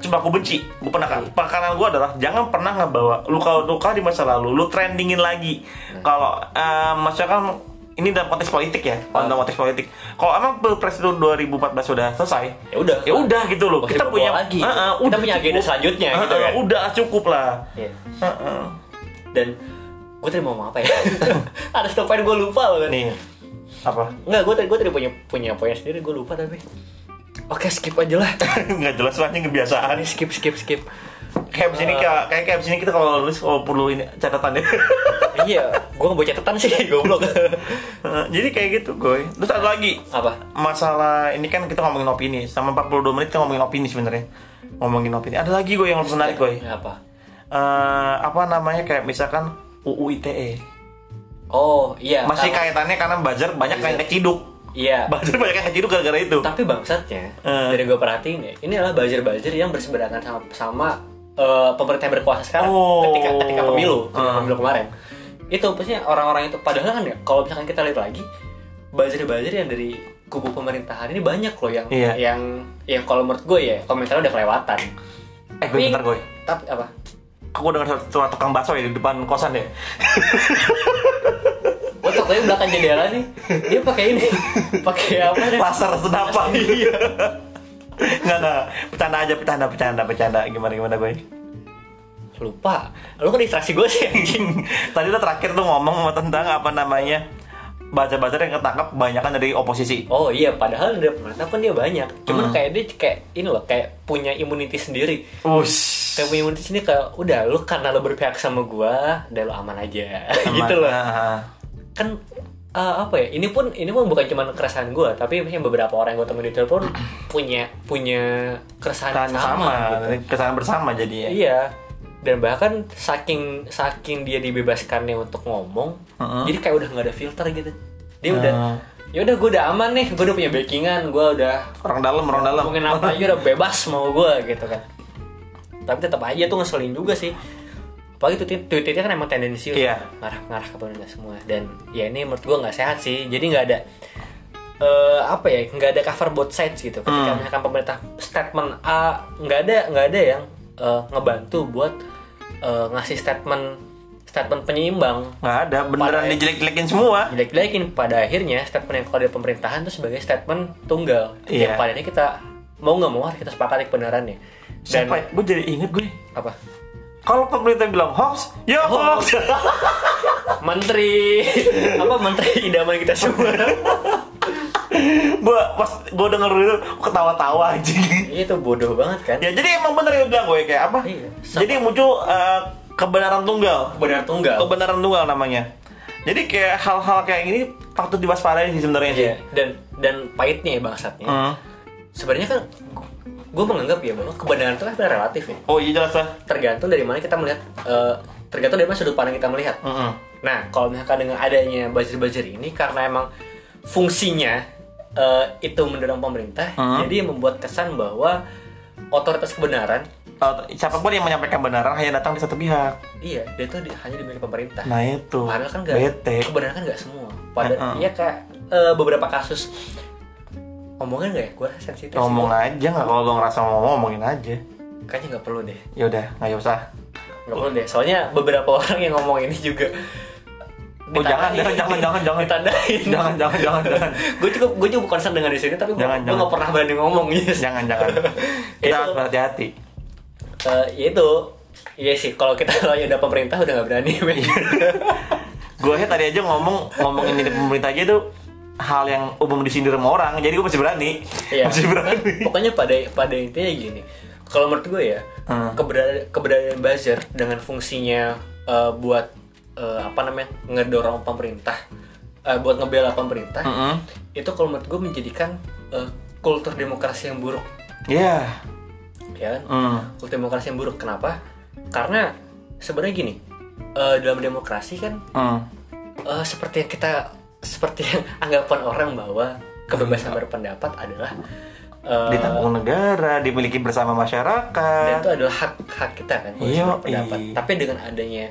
[SPEAKER 1] Coba aku benci. Gue pernah pekanan gue adalah jangan pernah ngebawa luka-luka di masa lalu, lu trendingin lagi. Kalau eh, maksudnya kan ini dalam konteks politik ya,
[SPEAKER 2] Ah.
[SPEAKER 1] dalam konteks politik. Kalau emang pilpres itu 2014 sudah selesai,
[SPEAKER 2] ya udah
[SPEAKER 1] ya udah gitu loh.
[SPEAKER 2] Masih
[SPEAKER 1] Kita
[SPEAKER 2] dibawa
[SPEAKER 1] punya
[SPEAKER 2] lagi.
[SPEAKER 1] Eh, eh,
[SPEAKER 2] Kita punya agenda selanjutnya
[SPEAKER 1] Eh,
[SPEAKER 2] gitu
[SPEAKER 1] eh,
[SPEAKER 2] kan.
[SPEAKER 1] Udah cukup lah.
[SPEAKER 2] Iya.
[SPEAKER 1] Eh, eh.
[SPEAKER 2] dan gue tadi mau ngomong apa ya [laughs] ada satu poin gue lupa loh kan
[SPEAKER 1] Nih apa? [laughs]
[SPEAKER 2] Enggak, gue tadi, gue tadi punya punya poin sendiri, gue lupa tapi. Oke, skip aja lah. [laughs]
[SPEAKER 1] Nggak jelas banget kebiasaan.
[SPEAKER 2] Ini skip, skip, skip.
[SPEAKER 1] Kayak abis ini kayak kayak kayak abis ini kita kalau nulis kalau perlu ini catatannya. [laughs]
[SPEAKER 2] iya, gue nggak bawa catatan sih, [laughs] goblok.
[SPEAKER 1] Eh, jadi kayak gitu gue terus ada lagi
[SPEAKER 2] Apa?
[SPEAKER 1] masalah ini kan kita ngomongin opini sama 42 menit kita ngomongin opini sebenarnya ngomongin opini ada lagi gue yang harus menarik gue
[SPEAKER 2] Apa?
[SPEAKER 1] Eh, apa namanya kayak misalkan UU ITE
[SPEAKER 2] Oh, iya.
[SPEAKER 1] E. masih
[SPEAKER 2] tapi-
[SPEAKER 1] kaitannya karena buzzer banyak
[SPEAKER 2] Buzzer.
[SPEAKER 1] yang keciduk
[SPEAKER 2] Iya.
[SPEAKER 1] buzzer banyak yang keciduk gara-gara itu
[SPEAKER 2] Tapi bangsatnya,
[SPEAKER 1] Eh.
[SPEAKER 2] dari gue perhatiin ya, ini adalah buzzer-buzzer yang berseberangan sama sama eh, pemerintah yang berkuasa sekarang
[SPEAKER 1] Oh.
[SPEAKER 2] ketika ketika pemilu, ketika
[SPEAKER 1] Eh.
[SPEAKER 2] pemilu kemarin. Itu maksudnya orang-orang itu padahal kan ya, kalau misalkan kita lihat lagi, buzzer-buzzer yang dari kubu pemerintahan ini banyak loh yang
[SPEAKER 1] Iya.
[SPEAKER 2] yang yang kalau menurut gue ya komentarnya udah kelewatan.
[SPEAKER 1] eh gue bentar gue
[SPEAKER 2] Tapi apa?
[SPEAKER 1] aku dengar suara- suara tukang bakso ya di depan kosan ya
[SPEAKER 2] Gue contohnya belakang jendela nih, dia pakai ini, pakai apa? nih?
[SPEAKER 1] laser senapan
[SPEAKER 2] Iya.
[SPEAKER 1] [laughs] nggak nggak bercanda aja bercanda bercanda bercanda gimana gimana gue
[SPEAKER 2] Lupa. Lu kan distraksi gue sih anjing.
[SPEAKER 1] Tadi lo terakhir tuh ngomong tentang apa namanya baca-baca yang ketangkap kebanyakan dari oposisi.
[SPEAKER 2] Oh iya, padahal dari pemerintah pun dia banyak.
[SPEAKER 1] Hmm.
[SPEAKER 2] Cuman kayak dia kayak ini loh, kayak punya immunity sendiri.
[SPEAKER 1] Ush.
[SPEAKER 2] Kayak punya immunity sendiri kayak udah lu karena lu berpihak sama gua, udah lu aman aja. [laughs] gitu loh.
[SPEAKER 1] Nah,
[SPEAKER 2] Kan eh, apa ya? Ini pun ini pun bukan cuma keresahan gua, tapi misalnya beberapa orang yang gua temuin di Twitter pun [clears throat] punya punya keresahan
[SPEAKER 1] Kesan
[SPEAKER 2] yang
[SPEAKER 1] sama,
[SPEAKER 2] sama. gitu.
[SPEAKER 1] kesan bersama jadinya.
[SPEAKER 2] Iya. Dan bahkan saking saking dia dibebaskannya untuk ngomong,
[SPEAKER 1] Heeh.
[SPEAKER 2] jadi kayak udah nggak ada filter gitu. Dia
[SPEAKER 1] Heeh.
[SPEAKER 2] udah, ya udah gue udah aman nih, gue udah punya backingan, gue udah
[SPEAKER 1] Orang dalam, orang dalam.
[SPEAKER 2] ngomongin apa aja udah bebas mau gue gitu kan. Tapi tetap aja tuh ngeselin juga sih. Apalagi tweet tweetnya kan emang tendensius
[SPEAKER 1] Iya.
[SPEAKER 2] ngarah ngarah ke pemerintah semua dan ya ini menurut gue nggak sehat sih. Jadi nggak ada eh, apa ya nggak ada cover both sides gitu ketika
[SPEAKER 1] Hmm.
[SPEAKER 2] misalkan pemerintah statement A nggak ada nggak ada yang eh, ngebantu buat eh, ngasih statement statement penyeimbang
[SPEAKER 1] Nggak ada, beneran
[SPEAKER 2] Parah ya.
[SPEAKER 1] dijelek-jelekin semua.
[SPEAKER 2] jelek-jelekin pada akhirnya statement yang keluar dari pemerintahan itu sebagai statement tunggal
[SPEAKER 1] Iya.
[SPEAKER 2] yang pada
[SPEAKER 1] ya?
[SPEAKER 2] ini kita mau nggak mau harus kita sepakati kebenarannya dan
[SPEAKER 1] Siapa? Gue jadi inget gue.
[SPEAKER 2] apa
[SPEAKER 1] Kalau pemerintah bilang hoax, ya hoax. [laughs]
[SPEAKER 2] menteri apa menteri idaman kita
[SPEAKER 1] [laughs]
[SPEAKER 2] semua
[SPEAKER 1] gua pas gua denger itu gua ketawa-tawa anjing.
[SPEAKER 2] itu bodoh banget kan
[SPEAKER 1] Ya jadi emang bener yang bilang gue kayak apa?
[SPEAKER 2] Iya.
[SPEAKER 1] Jadi muncul eh, kebenaran tunggal.
[SPEAKER 2] benar tunggal
[SPEAKER 1] Kebenaran tunggal namanya. Jadi kayak hal-hal kayak gini patut diwaspadai sih sebenarnya sih.
[SPEAKER 2] Iya, dan dan pahitnya ya bangsatnya
[SPEAKER 1] Hmm.
[SPEAKER 2] sebenarnya kan gue menganggap ya bahwa kebenaran itu kan sebenarnya relatif ya
[SPEAKER 1] Oh iya jelas lah.
[SPEAKER 2] tergantung dari mana kita melihat eh, tergantung dari mana sudut pandang kita melihat
[SPEAKER 1] Mm-mm.
[SPEAKER 2] nah kalau misalkan dengan adanya buzzer-buzzer ini karena emang fungsinya eh, itu mendorong pemerintah
[SPEAKER 1] Hmm.
[SPEAKER 2] jadi membuat kesan bahwa otoritas kebenaran
[SPEAKER 1] Eh, siapapun yang menyampaikan kebenaran hanya datang di satu pihak.
[SPEAKER 2] iya dia itu di- hanya dimiliki pemerintah
[SPEAKER 1] Nah itu.
[SPEAKER 2] Padahal kan nggak
[SPEAKER 1] bete.
[SPEAKER 2] kebenaran kan nggak semua. Pada
[SPEAKER 1] Heeh.
[SPEAKER 2] iya kayak eh, beberapa kasus omongan nggak ya? Gue sensitif. sih.
[SPEAKER 1] Ngomong aja nggak kalau lo ngerasa mau ngomong, ngomongin aja.
[SPEAKER 2] Kayaknya nggak perlu deh.
[SPEAKER 1] Ya udah, nggak usah.
[SPEAKER 2] Nggak perlu deh. Soalnya beberapa [laughs] orang yang ngomong ini juga.
[SPEAKER 1] Oh, jangan, jangan, jangan,
[SPEAKER 2] [laughs]
[SPEAKER 1] jangan, jangan.
[SPEAKER 2] Ditandain.
[SPEAKER 1] Jangan, jangan, jangan, jangan.
[SPEAKER 2] gue cukup gue cukup concern dengan di sini tapi gue
[SPEAKER 1] Jangan, jangan.
[SPEAKER 2] nggak pernah berani ngomong yes.
[SPEAKER 1] Jangan,
[SPEAKER 2] [laughs]
[SPEAKER 1] jangan. Kita
[SPEAKER 2] Itu-
[SPEAKER 1] harus berhati-hati.
[SPEAKER 2] Eh, ya itu Iya sih, kalau kita [laughs] kalau ya udah pemerintah udah nggak berani. men.
[SPEAKER 1] Gue aja tadi aja ngomong ngomongin ini pemerintah aja tuh hal yang umum disindir sama orang, jadi gue masih berani.
[SPEAKER 2] Iya.
[SPEAKER 1] Masih
[SPEAKER 2] [laughs]
[SPEAKER 1] berani.
[SPEAKER 2] [laughs] Pokoknya pada pada intinya gini. Kalau menurut gue ya,
[SPEAKER 1] Hmm.
[SPEAKER 2] keberadaan keberadaan buzzer dengan fungsinya eh, buat eh, apa namanya? ngedorong pemerintah eh, buat ngebela pemerintah.
[SPEAKER 1] Mm-mm.
[SPEAKER 2] Itu kalau menurut gue menjadikan eh, kultur demokrasi yang buruk,
[SPEAKER 1] Iya.
[SPEAKER 2] ya kan?
[SPEAKER 1] Mm.
[SPEAKER 2] Kultur demokrasi yang buruk. Kenapa? Karena sebenarnya gini, eh, dalam demokrasi kan
[SPEAKER 1] Mm.
[SPEAKER 2] Eh, seperti yang kita seperti yang [laughs] anggapan orang bahwa
[SPEAKER 1] Iya.
[SPEAKER 2] kebebasan berpendapat adalah eh,
[SPEAKER 1] Ditanggung negara, dimiliki bersama
[SPEAKER 2] dan
[SPEAKER 1] masyarakat.
[SPEAKER 2] itu adalah hak hak kita kan kebebasan
[SPEAKER 1] Yoi.
[SPEAKER 2] berpendapat.
[SPEAKER 1] iya.
[SPEAKER 2] Tapi dengan adanya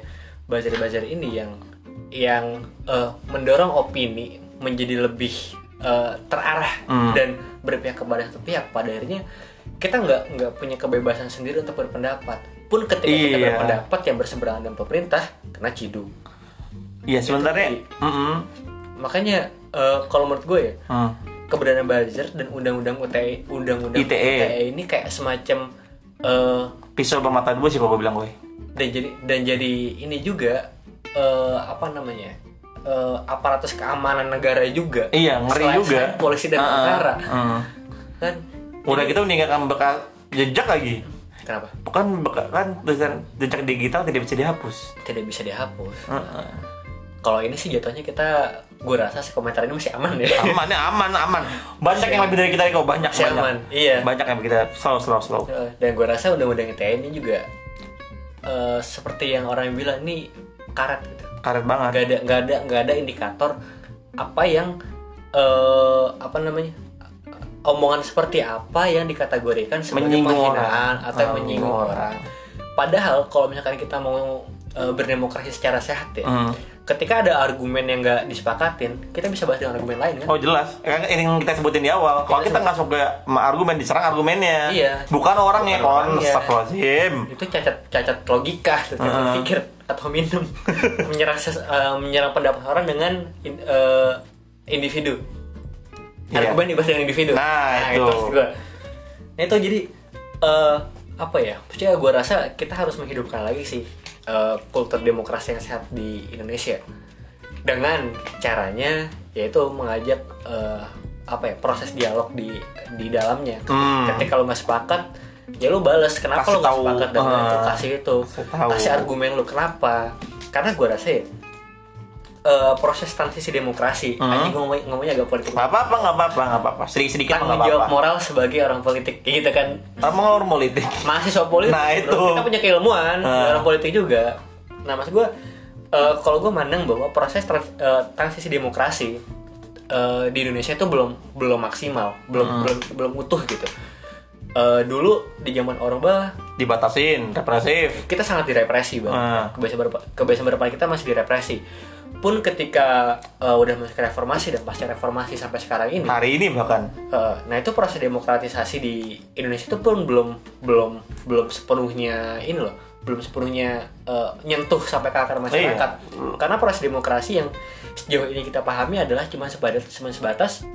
[SPEAKER 2] bazar-bazar ini yang yang eh, mendorong opini menjadi lebih eh, terarah
[SPEAKER 1] Hmm.
[SPEAKER 2] dan berpihak kepada satu pihak pada akhirnya kita nggak nggak punya kebebasan sendiri untuk berpendapat pun ketika kita
[SPEAKER 1] Iya.
[SPEAKER 2] berpendapat yang berseberangan dengan pemerintah kena ciduk
[SPEAKER 1] Iya sebenarnya. Mm-mm.
[SPEAKER 2] makanya eh, kalau menurut gue ya
[SPEAKER 1] Mm.
[SPEAKER 2] keberadaan buzzer dan undang-undang UTE, undang-undang E
[SPEAKER 1] ITE.
[SPEAKER 2] ini kayak semacam eh,
[SPEAKER 1] Pisau bermata dua sih kalau gue bilang gue.
[SPEAKER 2] dan jadi dan jadi ini juga eh, apa namanya eh, aparatus keamanan negara juga
[SPEAKER 1] Iya, ngeri
[SPEAKER 2] Selain-
[SPEAKER 1] juga.
[SPEAKER 2] selain polisi dan
[SPEAKER 1] Ah, ah.
[SPEAKER 2] tentara
[SPEAKER 1] Mm.
[SPEAKER 2] kan
[SPEAKER 1] Udah gitu meninggalkan bekas jejak lagi.
[SPEAKER 2] kenapa
[SPEAKER 1] Bukan beka- kan tulisan jejak digital tidak bisa dihapus. Uh,
[SPEAKER 2] tidak bisa dihapus
[SPEAKER 1] Heeh.
[SPEAKER 2] kalau ini sih jatuhnya kita gue rasa sih komentar ini masih aman ya
[SPEAKER 1] Aman ya aman aman. Banyak yang lebih dari kita kok banyak
[SPEAKER 2] [laughs] Masih
[SPEAKER 1] banyak.
[SPEAKER 2] aman, iya.
[SPEAKER 1] Banyak yang kita slow slow slow.
[SPEAKER 2] Eh, dan gue rasa undang-undang ITE ini juga eh, seperti yang orang bilang ini karat gitu
[SPEAKER 1] Karet banget.
[SPEAKER 2] nggak ada nggak ada nggak ada indikator apa yang eh apa namanya omongan seperti apa yang dikategorikan sebagai
[SPEAKER 1] Menyinggung
[SPEAKER 2] penghinaan
[SPEAKER 1] orang.
[SPEAKER 2] atau yang menyinggung
[SPEAKER 1] Oh.
[SPEAKER 2] orang. Padahal kalau misalkan kita mau eh, berdemokrasi secara sehat ya,
[SPEAKER 1] Hmm.
[SPEAKER 2] ketika ada argumen yang nggak disepakatin, kita bisa bahas dengan argumen lain kan?
[SPEAKER 1] Oh jelas, kan ini yang kita sebutin di awal. Kalau kita nggak suka sama argumen, diserang argumennya.
[SPEAKER 2] Iya.
[SPEAKER 1] Bukan orangnya,
[SPEAKER 2] Bukan
[SPEAKER 1] kon.
[SPEAKER 2] orangnya. Iya.
[SPEAKER 1] Astagfirullahaladzim.
[SPEAKER 2] Itu cacat cacat logika, tuh, cacat
[SPEAKER 1] Heeh.
[SPEAKER 2] pikir atau minum [laughs] menyerang ses- eh, menyerang pendapat orang dengan in- eh, individu.
[SPEAKER 1] Iya.
[SPEAKER 2] Argumen dibahas dengan individu.
[SPEAKER 1] Nah, itu.
[SPEAKER 2] maksud gua. Nah itu jadi eh, apa ya? Maksudnya gue rasa kita harus menghidupkan lagi sih eh, kultur demokrasi yang sehat di Indonesia dengan caranya yaitu mengajak eh, apa ya proses dialog di di dalamnya.
[SPEAKER 1] Hmm.
[SPEAKER 2] Ketika kalau nggak sepakat ya lu balas kenapa
[SPEAKER 1] Kasih
[SPEAKER 2] lu nggak
[SPEAKER 1] tahu.
[SPEAKER 2] sepakat dengan
[SPEAKER 1] Ah.
[SPEAKER 2] itu kasih itu
[SPEAKER 1] Kasih tahu.
[SPEAKER 2] kasih argumen lu kenapa karena gue rasa ya eh, proses transisi demokrasi
[SPEAKER 1] Hmm.
[SPEAKER 2] anjing gua ngomong- ngomongnya agak politik
[SPEAKER 1] Gak apa-apa, gak apa-apa, gak apa-apa. Sedikit-sedikit mah
[SPEAKER 2] tanggung
[SPEAKER 1] Iya, nggak
[SPEAKER 2] jawab
[SPEAKER 1] apa-apa.
[SPEAKER 2] Kan moral sebagai orang politik Ya gitu kan
[SPEAKER 1] Kamu ngomong politik.
[SPEAKER 2] mahasiswa politik
[SPEAKER 1] Nah,
[SPEAKER 2] bro.
[SPEAKER 1] itu.
[SPEAKER 2] kita punya keilmuan
[SPEAKER 1] Ah.
[SPEAKER 2] orang politik juga nah maksud gue eh, kalau gue mandang bahwa proses trans- eh, transisi demokrasi eh, di Indonesia itu belum belum maksimal belum
[SPEAKER 1] Hmm.
[SPEAKER 2] belum belum utuh gitu Eh, dulu di zaman Orba
[SPEAKER 1] Dibatasin, represif.
[SPEAKER 2] kita sangat direpresi bang
[SPEAKER 1] Ah.
[SPEAKER 2] kebiasaan berpa- kebiasaan berpendapat kita masih direpresi pun ketika eh, udah masuk ke reformasi dan pasca reformasi sampai sekarang ini
[SPEAKER 1] Hari ini bahkan. [laughs]
[SPEAKER 2] Eh, nah itu proses demokratisasi di Indonesia itu pun belum belum belum sepenuhnya ini loh belum sepenuhnya eh, nyentuh sampai ke akar masyarakat karena proses demokrasi yang sejauh ini kita pahami adalah cuma sebatas cuma sebatas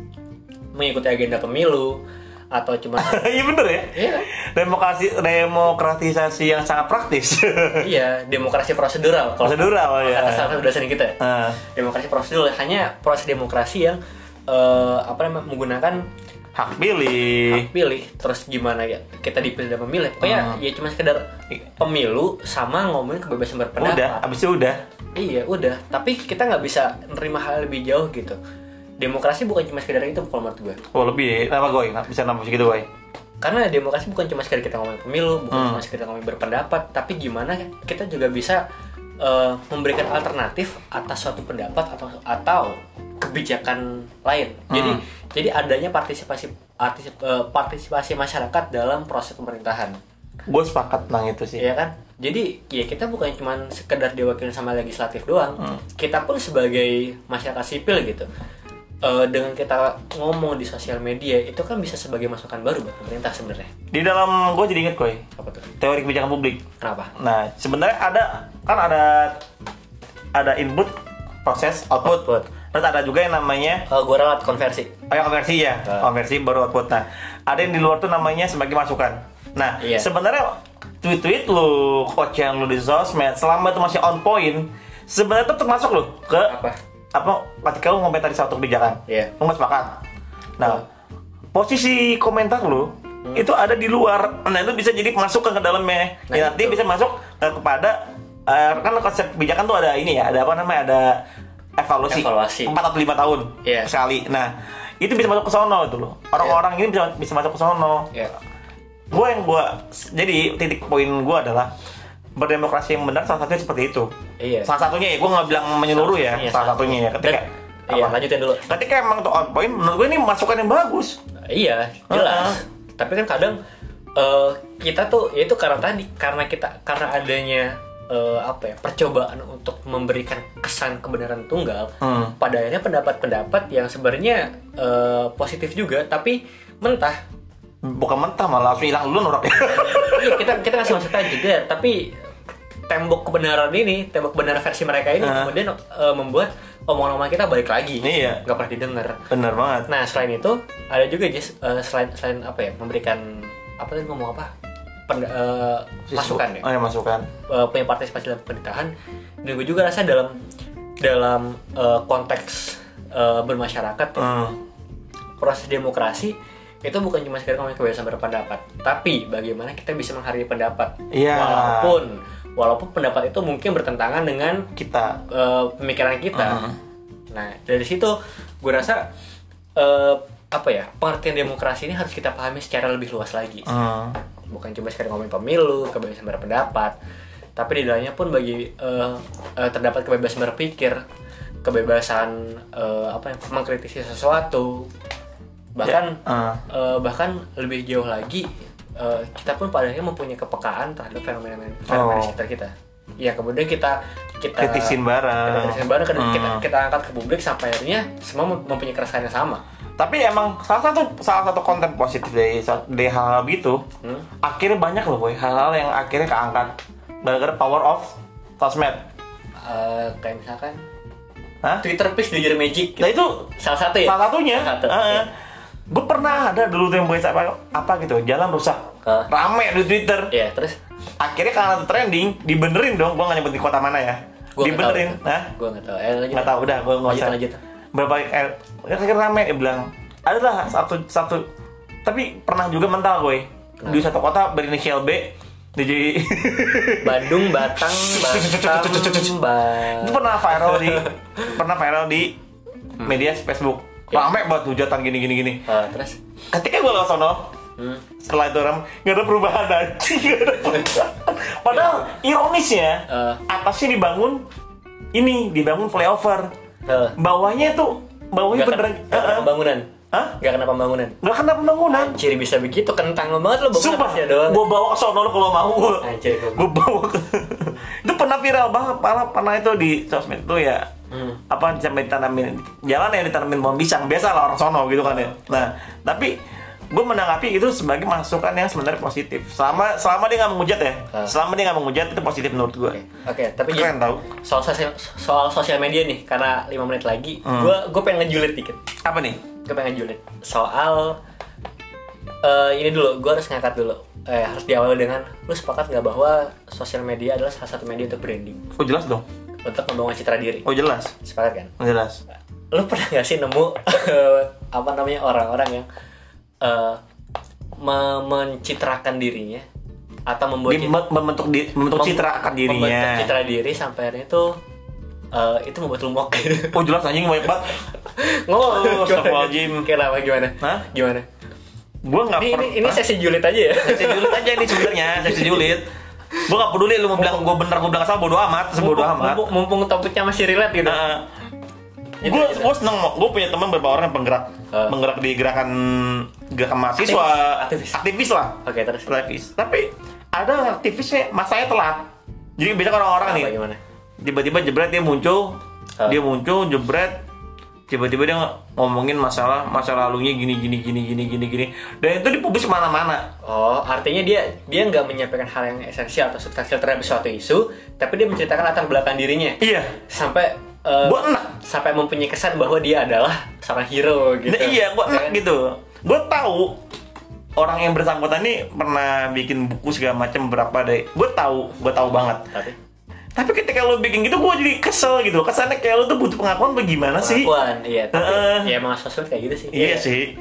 [SPEAKER 2] mengikuti agenda pemilu atau cuma
[SPEAKER 1] [laughs] Iya bener ya.
[SPEAKER 2] Iya.
[SPEAKER 1] Demokrasi demokratisasi yang sangat praktis. [laughs]
[SPEAKER 2] iya demokrasi prosedural kalau
[SPEAKER 1] Prosedural ya.
[SPEAKER 2] kata salah satu dosen kita ya.
[SPEAKER 1] Eh,
[SPEAKER 2] demokrasi prosedural hanya proses demokrasi yang eh, apa namanya menggunakan
[SPEAKER 1] hak pilih.
[SPEAKER 2] hak pilih terus gimana ya kita dipilih dan memilih pokoknya ya cuma sekedar pemilu sama ngomongin kebebasan berpendapat
[SPEAKER 1] Udah, abis itu udah.
[SPEAKER 2] Iya, udah. Tapi kita nggak bisa nerima hal lebih jauh gitu. Demokrasi bukan cuma sekedar itu kalau menurut gue.
[SPEAKER 1] Oh lebih, apa goy? Nggak Bisa nambah segitu goy?
[SPEAKER 2] Karena demokrasi bukan cuma sekedar kita ngomongin pemilu, bukan cuma sekedar ngomongin berpendapat, tapi gimana ya? kita juga bisa eh, memberikan alternatif atas suatu pendapat atau atau kebijakan lain. Jadi jadi adanya partisipasi partisip- eh, partisipasi masyarakat dalam proses pemerintahan.
[SPEAKER 1] Gue sepakat tentang itu sih.
[SPEAKER 2] Iya kan? Jadi ya kita bukan cuma sekedar diwakilin sama legislatif doang.
[SPEAKER 1] Hmm.
[SPEAKER 2] Kita pun sebagai masyarakat sipil gitu. eh, dengan kita ngomong di sosial media itu kan bisa sebagai masukan baru buat pemerintah sebenarnya.
[SPEAKER 1] Di dalam gue jadi inget goy.
[SPEAKER 2] Apa tuh?
[SPEAKER 1] Teori kebijakan publik.
[SPEAKER 2] Kenapa?
[SPEAKER 1] Nah, sebenarnya ada kan ada ada input, proses, output.
[SPEAKER 2] Output.
[SPEAKER 1] Terus ada juga yang namanya
[SPEAKER 2] Kalau gue ralat konversi.
[SPEAKER 1] oh yang Eh, konversi ya,
[SPEAKER 2] Nah.
[SPEAKER 1] konversi baru output. Nah, ada yang di luar tuh namanya sebagai masukan. Nah,
[SPEAKER 2] Iya.
[SPEAKER 1] sebenarnya tweet-tweet lu, kocehan lu di sosmed, selama itu masih on point, sebenarnya itu termasuk lu ke
[SPEAKER 2] Apa?
[SPEAKER 1] apa ketika lu komentar di satu kebijakan.
[SPEAKER 2] Iya.
[SPEAKER 1] Lu nggak sepakat. Nah, posisi komentar lu
[SPEAKER 2] Hmm.
[SPEAKER 1] itu ada di luar. Nah, itu bisa jadi masuk ke dalamnya.
[SPEAKER 2] Nah,
[SPEAKER 1] Ya, nanti
[SPEAKER 2] itu.
[SPEAKER 1] bisa masuk eh, kepada eh, kan konsep kebijakan tuh ada ini ya, ada apa namanya? Ada evaluasi,
[SPEAKER 2] Evaluasi.
[SPEAKER 1] 4 atau 5 tahun
[SPEAKER 2] Iya.
[SPEAKER 1] sekali. Nah, itu bisa masuk ke sono itu loh. Orang-orang ini bisa bisa masuk ke sono.
[SPEAKER 2] Ya.
[SPEAKER 1] Gue yang gue jadi titik poin gue adalah berdemokrasi yang benar salah satunya seperti itu.
[SPEAKER 2] Iya.
[SPEAKER 1] Salah satunya ya, gue nggak bilang menyeluruh ya,
[SPEAKER 2] Iya,
[SPEAKER 1] salah satunya ya. Ketika
[SPEAKER 2] Dan- Iya,
[SPEAKER 1] apa?
[SPEAKER 2] lanjutin dulu.
[SPEAKER 1] Ketika emang tuh on point, menurut gue ini masukan yang bagus.
[SPEAKER 2] Iya, jelas.
[SPEAKER 1] Heeh.
[SPEAKER 2] Tapi kan kadang eh, kita tuh ya itu karena tadi karena kita karena adanya eh, apa ya percobaan untuk memberikan kesan kebenaran tunggal.
[SPEAKER 1] Hmm.
[SPEAKER 2] Pada akhirnya pendapat-pendapat yang sebenarnya eh, positif juga, tapi mentah.
[SPEAKER 1] Bukan mentah malah langsung hilang dulu [laughs] norak.
[SPEAKER 2] Iya, kita kita ngasih masukan juga, tapi tembok kebenaran ini, tembok kebenaran versi mereka ini
[SPEAKER 1] Heeh.
[SPEAKER 2] kemudian eh, membuat omongan-omongan kita balik lagi.
[SPEAKER 1] Iya.
[SPEAKER 2] nggak pernah didengar.
[SPEAKER 1] Bener banget.
[SPEAKER 2] Nah selain itu ada juga Jis eh, selain selain apa ya memberikan apa tadi ngomong apa Pen- eh, masukan ya
[SPEAKER 1] Oh ya masukan.
[SPEAKER 2] Eh, punya partisipasi dalam pemerintahan dan gue juga rasa dalam dalam eh, konteks eh, bermasyarakat ya,
[SPEAKER 1] Hmm.
[SPEAKER 2] proses demokrasi itu bukan cuma sekedar ngomongin kebebasan berpendapat tapi bagaimana kita bisa menghargai pendapat
[SPEAKER 1] Iya.
[SPEAKER 2] walaupun walaupun pendapat itu mungkin bertentangan dengan
[SPEAKER 1] Kita
[SPEAKER 2] eh, pemikiran kita.
[SPEAKER 1] Mm.
[SPEAKER 2] Nah, dari situ gue rasa eh, apa ya pengertian demokrasi ini harus kita pahami secara lebih luas lagi.
[SPEAKER 1] hmm.
[SPEAKER 2] Bukan cuma sekedar ngomongin pemilu, kebebasan berpendapat, tapi di dalamnya pun bagi eh, eh, terdapat kebebasan berpikir, kebebasan eh, apa ya mengkritisi sesuatu, bahkan
[SPEAKER 1] Ya, eh.
[SPEAKER 2] eh, bahkan lebih jauh lagi eh, kita pun padanya mempunyai kepekaan terhadap fenomena
[SPEAKER 1] Oh.
[SPEAKER 2] fenomena sekitar kita. Ya kemudian kita kita
[SPEAKER 1] kritisin
[SPEAKER 2] kita
[SPEAKER 1] barang.
[SPEAKER 2] tulisin bareng, kita-
[SPEAKER 1] Hmm.
[SPEAKER 2] kita kita angkat ke publik sampai akhirnya semua mem- mempunyai keresahan yang sama
[SPEAKER 1] Tapi emang salah satu salah satu konten positif dari dari hal-hal gitu,
[SPEAKER 2] Hmm.
[SPEAKER 1] akhirnya banyak loh boy hal-hal yang akhirnya keangkat gara-gara power of sosmed.
[SPEAKER 2] Eh, kayak misalkan
[SPEAKER 1] Hah?
[SPEAKER 2] Twitter please do your magic
[SPEAKER 1] Nah itu
[SPEAKER 2] salah satu ya
[SPEAKER 1] salah satunya.
[SPEAKER 2] salah satu Iya.
[SPEAKER 1] Gue pernah ada dulu tuh yang boys apa apa gitu jalan rusak,
[SPEAKER 2] Hah?
[SPEAKER 1] rame di Twitter.
[SPEAKER 2] Iya, terus
[SPEAKER 1] akhirnya karena itu trending dibenerin dong gue nggak nyebut di kota mana ya
[SPEAKER 2] gua nggak
[SPEAKER 1] dibenerin
[SPEAKER 2] tahu.
[SPEAKER 1] nah
[SPEAKER 2] gua nggak tahu eh lanjut
[SPEAKER 1] nggak tahu udah gue nggak
[SPEAKER 2] Lanjut,
[SPEAKER 1] usah
[SPEAKER 2] lanjut.
[SPEAKER 1] berapa eh, akhirnya rame dia bilang adalah satu satu tapi pernah juga mental gue di satu kota berinisial B dia jadi
[SPEAKER 2] Bandung Batang Batam
[SPEAKER 1] [laughs] itu
[SPEAKER 2] Ba-
[SPEAKER 1] pernah viral di pernah viral di
[SPEAKER 2] Hmm.
[SPEAKER 1] media Facebook
[SPEAKER 2] Ya.
[SPEAKER 1] rame banget hujatan gini gini gini
[SPEAKER 2] Eh, terus
[SPEAKER 1] ketika gue lewat sono
[SPEAKER 2] hmm,
[SPEAKER 1] setelah itu orang nggak ada perubahan anjing nggak ada perubahan padahal ironisnya
[SPEAKER 2] Eh.
[SPEAKER 1] atasnya dibangun ini dibangun flyover
[SPEAKER 2] eh,
[SPEAKER 1] bawahnya tuh bawahnya
[SPEAKER 2] nggak kena,
[SPEAKER 1] beneran
[SPEAKER 2] nggak kena
[SPEAKER 1] eh, eh.
[SPEAKER 2] pembangunan
[SPEAKER 1] Hah?
[SPEAKER 2] nggak kena pembangunan
[SPEAKER 1] nggak kena pembangunan
[SPEAKER 2] ciri bisa begitu kentang banget lo bangun
[SPEAKER 1] sumpah
[SPEAKER 2] atasnya doang
[SPEAKER 1] gue bawa ke sono lu kalau mau gue
[SPEAKER 2] Anjir, gua-
[SPEAKER 1] gue bawa ke [laughs] itu pernah viral banget pernah pernah itu di sosmed tuh ya
[SPEAKER 2] Hmm.
[SPEAKER 1] apa sampai ditanamin jalan ya ditanamin pohon pisang biasa lah orang sono gitu kan ya nah tapi gue menanggapi itu sebagai masukan yang sebenarnya positif selama selama dia nggak menghujat ya
[SPEAKER 2] Ah.
[SPEAKER 1] selama dia nggak menghujat itu positif menurut gue
[SPEAKER 2] Oke, tapi
[SPEAKER 1] Keren
[SPEAKER 2] Jis,
[SPEAKER 1] tau.
[SPEAKER 2] Soal sosial, soal sosial media nih, karena 5 menit lagi, gue pengen ngejulit dikit.
[SPEAKER 1] apa nih
[SPEAKER 2] Gue pengen ngejulit soal eh, ini dulu, gue harus ngangkat dulu. Eh, harus diawali dengan lu sepakat nggak bahwa sosial media adalah salah satu media untuk branding,
[SPEAKER 1] Oh jelas dong.
[SPEAKER 2] untuk membangun citra diri.
[SPEAKER 1] Oh jelas.
[SPEAKER 2] Sepakat kan?
[SPEAKER 1] Oh, jelas.
[SPEAKER 2] lu pernah nggak sih nemu [laughs] apa namanya orang-orang yang eh, me- mencitrakan dirinya atau membuat
[SPEAKER 1] Dia mem- membentuk di, membentuk
[SPEAKER 2] mem-
[SPEAKER 1] citra akan dirinya.
[SPEAKER 2] membentuk citra diri sampai akhirnya tuh eh, itu membuat lu mok [laughs]
[SPEAKER 1] Oh jelas anjing banyak banget.
[SPEAKER 2] ngomong
[SPEAKER 1] Oh, astagfirullahaladzim.
[SPEAKER 2] kenapa gimana
[SPEAKER 1] Hah?
[SPEAKER 2] gimana
[SPEAKER 1] Gue nggak
[SPEAKER 2] ini, ini, ini
[SPEAKER 1] pernah-
[SPEAKER 2] sesi julid aja ya
[SPEAKER 1] seksi julid aja ini sebenarnya seksi julid gue gak peduli lu mau bilang gue bener gue bilang salah bodo amat sebodo
[SPEAKER 2] mumpung,
[SPEAKER 1] amat
[SPEAKER 2] mumpung, mumpung topiknya masih relate gitu
[SPEAKER 1] nah,
[SPEAKER 2] Gitu,
[SPEAKER 1] gue
[SPEAKER 2] gitu.
[SPEAKER 1] gue seneng gue punya teman beberapa orang yang penggerak
[SPEAKER 2] Ah.
[SPEAKER 1] penggerak di gerakan gerakan mahasiswa
[SPEAKER 2] Aktivis.
[SPEAKER 1] aktivis, lah
[SPEAKER 2] oke terus
[SPEAKER 1] aktivis tapi ada aktivisnya masanya telat jadi biasanya kan orang-orang nih
[SPEAKER 2] apa gimana
[SPEAKER 1] tiba-tiba jebret dia muncul
[SPEAKER 2] Ah.
[SPEAKER 1] dia muncul jebret tiba-tiba dia ngomongin masalah masa lalunya gini gini gini gini gini gini dan itu dipublis mana-mana
[SPEAKER 2] Oh, artinya dia dia nggak menyampaikan hal yang esensial atau substansial terhadap suatu isu, tapi dia menceritakan latar belakang dirinya
[SPEAKER 1] iya
[SPEAKER 2] sampai eh,
[SPEAKER 1] Gua enak.
[SPEAKER 2] sampai mempunyai kesan bahwa dia adalah seorang hero gitu.
[SPEAKER 1] Nah, iya, gua enak
[SPEAKER 2] Kan?
[SPEAKER 1] gitu. Gua tahu orang yang bersangkutan ini pernah bikin buku segala macam berapa deh. Gua tahu, gua tahu banget.
[SPEAKER 2] Tapi
[SPEAKER 1] Tapi ketika lo bikin gitu, gua jadi kesel gitu. Kesannya kayak lo tuh butuh pengakuan bagaimana sih?
[SPEAKER 2] pengakuan, iya. Tapi
[SPEAKER 1] Heeh.
[SPEAKER 2] ya emang sosmed kayak gitu sih.
[SPEAKER 1] Iya
[SPEAKER 2] [laughs]
[SPEAKER 1] sih.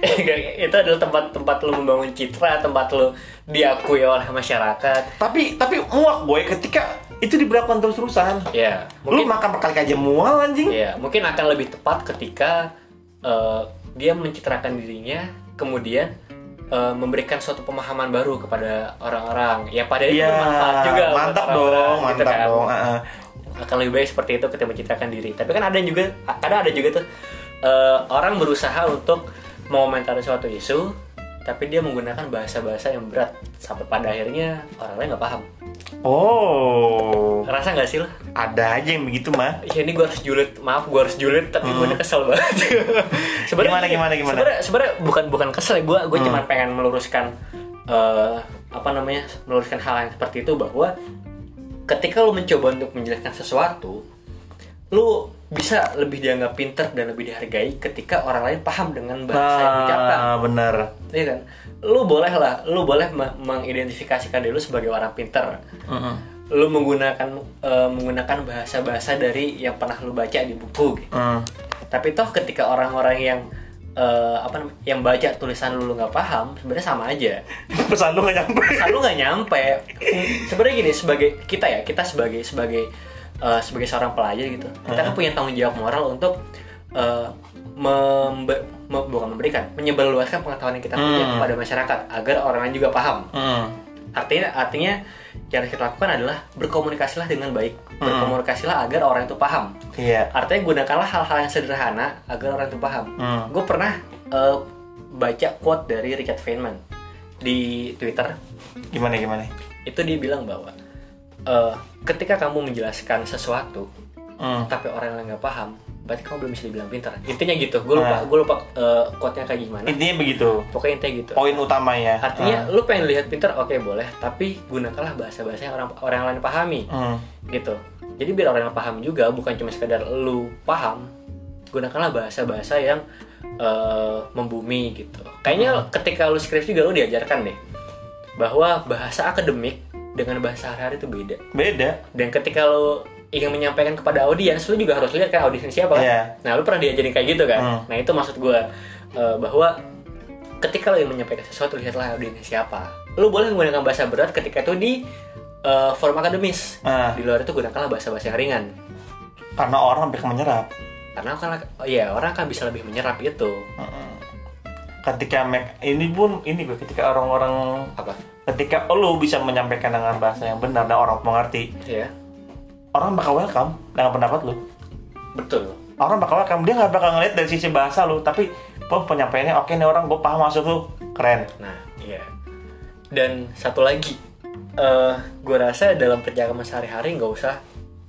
[SPEAKER 2] itu adalah tempat-tempat lu membangun citra, tempat lu diakui oleh masyarakat.
[SPEAKER 1] Tapi tapi muak gue ketika itu diberlakukan terus-terusan.
[SPEAKER 2] Ya,
[SPEAKER 1] Lu makan berkali kali aja mual anjing.
[SPEAKER 2] Iya, mungkin akan lebih tepat ketika eh, dia mencitrakan dirinya, kemudian eh, memberikan suatu pemahaman baru kepada orang-orang. Ya pada itu
[SPEAKER 1] Iya,
[SPEAKER 2] bermanfaat juga. buat
[SPEAKER 1] mantap
[SPEAKER 2] orang-orang,
[SPEAKER 1] dong,
[SPEAKER 2] gitu
[SPEAKER 1] mantap
[SPEAKER 2] kan.
[SPEAKER 1] dong. Heeh.
[SPEAKER 2] Akan lebih baik seperti itu ketika mencitrakan diri. Tapi kan ada juga, kadang ada juga tuh eh, orang berusaha untuk mengomentari suatu isu, tapi dia menggunakan bahasa-bahasa yang berat sampai pada akhirnya orang lain nggak paham.
[SPEAKER 1] Oh,
[SPEAKER 2] Ngerasa nggak sih lo?
[SPEAKER 1] ada aja yang begitu mah.
[SPEAKER 2] ya ini gue harus julid maaf gue harus julid tapi gue udah kesel
[SPEAKER 1] [laughs]
[SPEAKER 2] banget sebenarnya
[SPEAKER 1] Hmm. Gimana, gimana, gimana? Hmm.
[SPEAKER 2] sebenarnya sebenarnya bukan bukan kesel gue gue cuma pengen meluruskan eh, apa namanya meluruskan hal yang seperti itu bahwa ketika lu mencoba untuk menjelaskan sesuatu lu bisa lebih dianggap pinter dan lebih dihargai ketika orang lain paham dengan bahasa yang diucapkan
[SPEAKER 1] Nah, bener.
[SPEAKER 2] Iya kan lu boleh lah lu boleh me- mengidentifikasikan diri lu sebagai orang pinter
[SPEAKER 1] Heeh.
[SPEAKER 2] lu menggunakan eh, menggunakan bahasa-bahasa dari yang pernah lu baca di buku gitu.
[SPEAKER 1] Heeh.
[SPEAKER 2] Tapi toh ketika orang-orang yang eh, apa namanya yang baca tulisan lu lu nggak paham sebenarnya sama aja.
[SPEAKER 1] Pesan lu gak nyampe.
[SPEAKER 2] Selalu nggak nyampe. Sebenarnya gini sebagai kita ya kita sebagai sebagai eh, sebagai seorang pelajar gitu kita kan punya tanggung jawab moral untuk eh, membe- me- bukan memberikan menyebarluaskan pengetahuan yang kita punya
[SPEAKER 1] Hmm.
[SPEAKER 2] kepada masyarakat agar orang lain juga paham
[SPEAKER 1] Heeh.
[SPEAKER 2] artinya artinya yang harus kita lakukan adalah berkomunikasilah dengan baik berkomunikasilah agar orang itu paham
[SPEAKER 1] Iya.
[SPEAKER 2] artinya gunakanlah hal-hal yang sederhana agar orang itu paham
[SPEAKER 1] Hmm.
[SPEAKER 2] gue pernah eh, baca quote dari Richard Feynman di Twitter
[SPEAKER 1] Gimana gimana?
[SPEAKER 2] itu dia bilang bahwa eh, ketika kamu menjelaskan sesuatu
[SPEAKER 1] Hmm.
[SPEAKER 2] tapi orang yang nggak paham berarti kamu belum bisa dibilang pintar intinya gitu gue lupa gue lupa eh, quote-nya kayak gimana
[SPEAKER 1] Intinya begitu.
[SPEAKER 2] pokoknya intinya gitu
[SPEAKER 1] Poin utamanya.
[SPEAKER 2] artinya lu pengen lihat pintar oke boleh tapi gunakanlah bahasa-bahasa yang orang orang lain pahami
[SPEAKER 1] Hmm.
[SPEAKER 2] gitu jadi biar orang yang paham juga bukan cuma sekedar lu paham gunakanlah bahasa-bahasa yang eh, membumi gitu kayaknya ketika lu skripsi juga lu diajarkan deh bahwa bahasa akademik dengan bahasa hari-hari itu beda
[SPEAKER 1] Beda.
[SPEAKER 2] dan ketika lu ingin menyampaikan kepada audiens lu juga harus lihat kan audiens siapa kan
[SPEAKER 1] Iya.
[SPEAKER 2] nah lu pernah diajarin kayak gitu kan
[SPEAKER 1] Hmm.
[SPEAKER 2] nah itu maksud gua eh, bahwa ketika lu ingin menyampaikan sesuatu lihatlah audiens siapa lu boleh menggunakan bahasa berat ketika itu di eh, forum akademis
[SPEAKER 1] Ah,
[SPEAKER 2] di luar itu gunakanlah bahasa-bahasa yang ringan
[SPEAKER 1] karena orang hampir menyerap.
[SPEAKER 2] karena kan oh ya orang kan bisa lebih menyerap itu
[SPEAKER 1] Heeh. Ketika Mac ini pun ini gue ketika orang-orang
[SPEAKER 2] apa
[SPEAKER 1] ketika lo bisa menyampaikan dengan bahasa yang benar dan orang mengerti,
[SPEAKER 2] ya
[SPEAKER 1] orang bakal welcome dengan pendapat lo.
[SPEAKER 2] betul
[SPEAKER 1] Orang bakal welcome dia nggak bakal ngeliat dari sisi bahasa lo, tapi oh, penyampaiannya oke nih orang gue paham maksud lo, keren.
[SPEAKER 2] nah iya dan satu lagi eh gue rasa dalam perjalanan sehari-hari nggak usah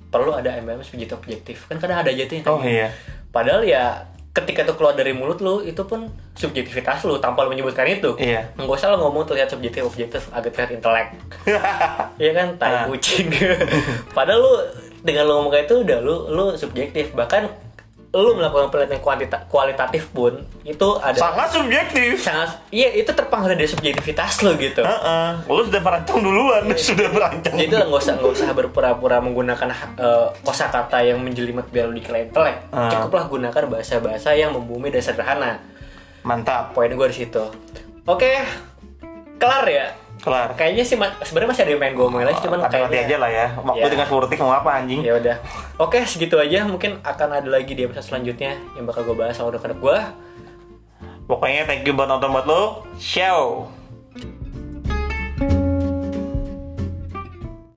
[SPEAKER 2] perlu ada MMS begitu objektif kan kadang ada aja tuh yang kayak
[SPEAKER 1] Oh iya.
[SPEAKER 2] Padahal ya ketika itu keluar dari mulut lu itu pun subjektivitas lu tanpa lu menyebutkan itu.
[SPEAKER 1] Iya.
[SPEAKER 2] Enggak usah lu ngomong terlihat subjektif objektif agak terlihat
[SPEAKER 1] [laughs]
[SPEAKER 2] intelek. Iya kan
[SPEAKER 1] Ah.
[SPEAKER 2] tai [laughs] kucing. Padahal lu dengan lu ngomong kayak itu udah lu lu subjektif bahkan lu melakukan penelitian kuantita- kualitatif pun itu ada
[SPEAKER 1] sangat subjektif
[SPEAKER 2] sangat iya itu terpengaruh dari subjektivitas lo gitu
[SPEAKER 1] Heeh, lu sudah merancang duluan, [laughs] sudah merancang.
[SPEAKER 2] jadi itu nggak usah nggak usah berpura-pura menggunakan eh, kosakata yang menjelimet biar lu dikira intelek
[SPEAKER 1] Ah.
[SPEAKER 2] cukuplah gunakan bahasa-bahasa yang membumi dan sederhana
[SPEAKER 1] Mantap,
[SPEAKER 2] poin gue di situ oke kelar ya
[SPEAKER 1] kelar.
[SPEAKER 2] kayaknya sih ma- sebenarnya masih ada yang pengen gue omongin lagi cuman
[SPEAKER 1] Tapi nanti
[SPEAKER 2] kayaknya
[SPEAKER 1] aja lah ya. Waktu
[SPEAKER 2] Ya.
[SPEAKER 1] tinggal 10 detik mau apa anjing?
[SPEAKER 2] ya udah oke segitu aja mungkin akan ada lagi di episode selanjutnya yang bakal gue bahas sama rekan gue
[SPEAKER 1] Pokoknya thank you buat nonton buat lo. Ciao.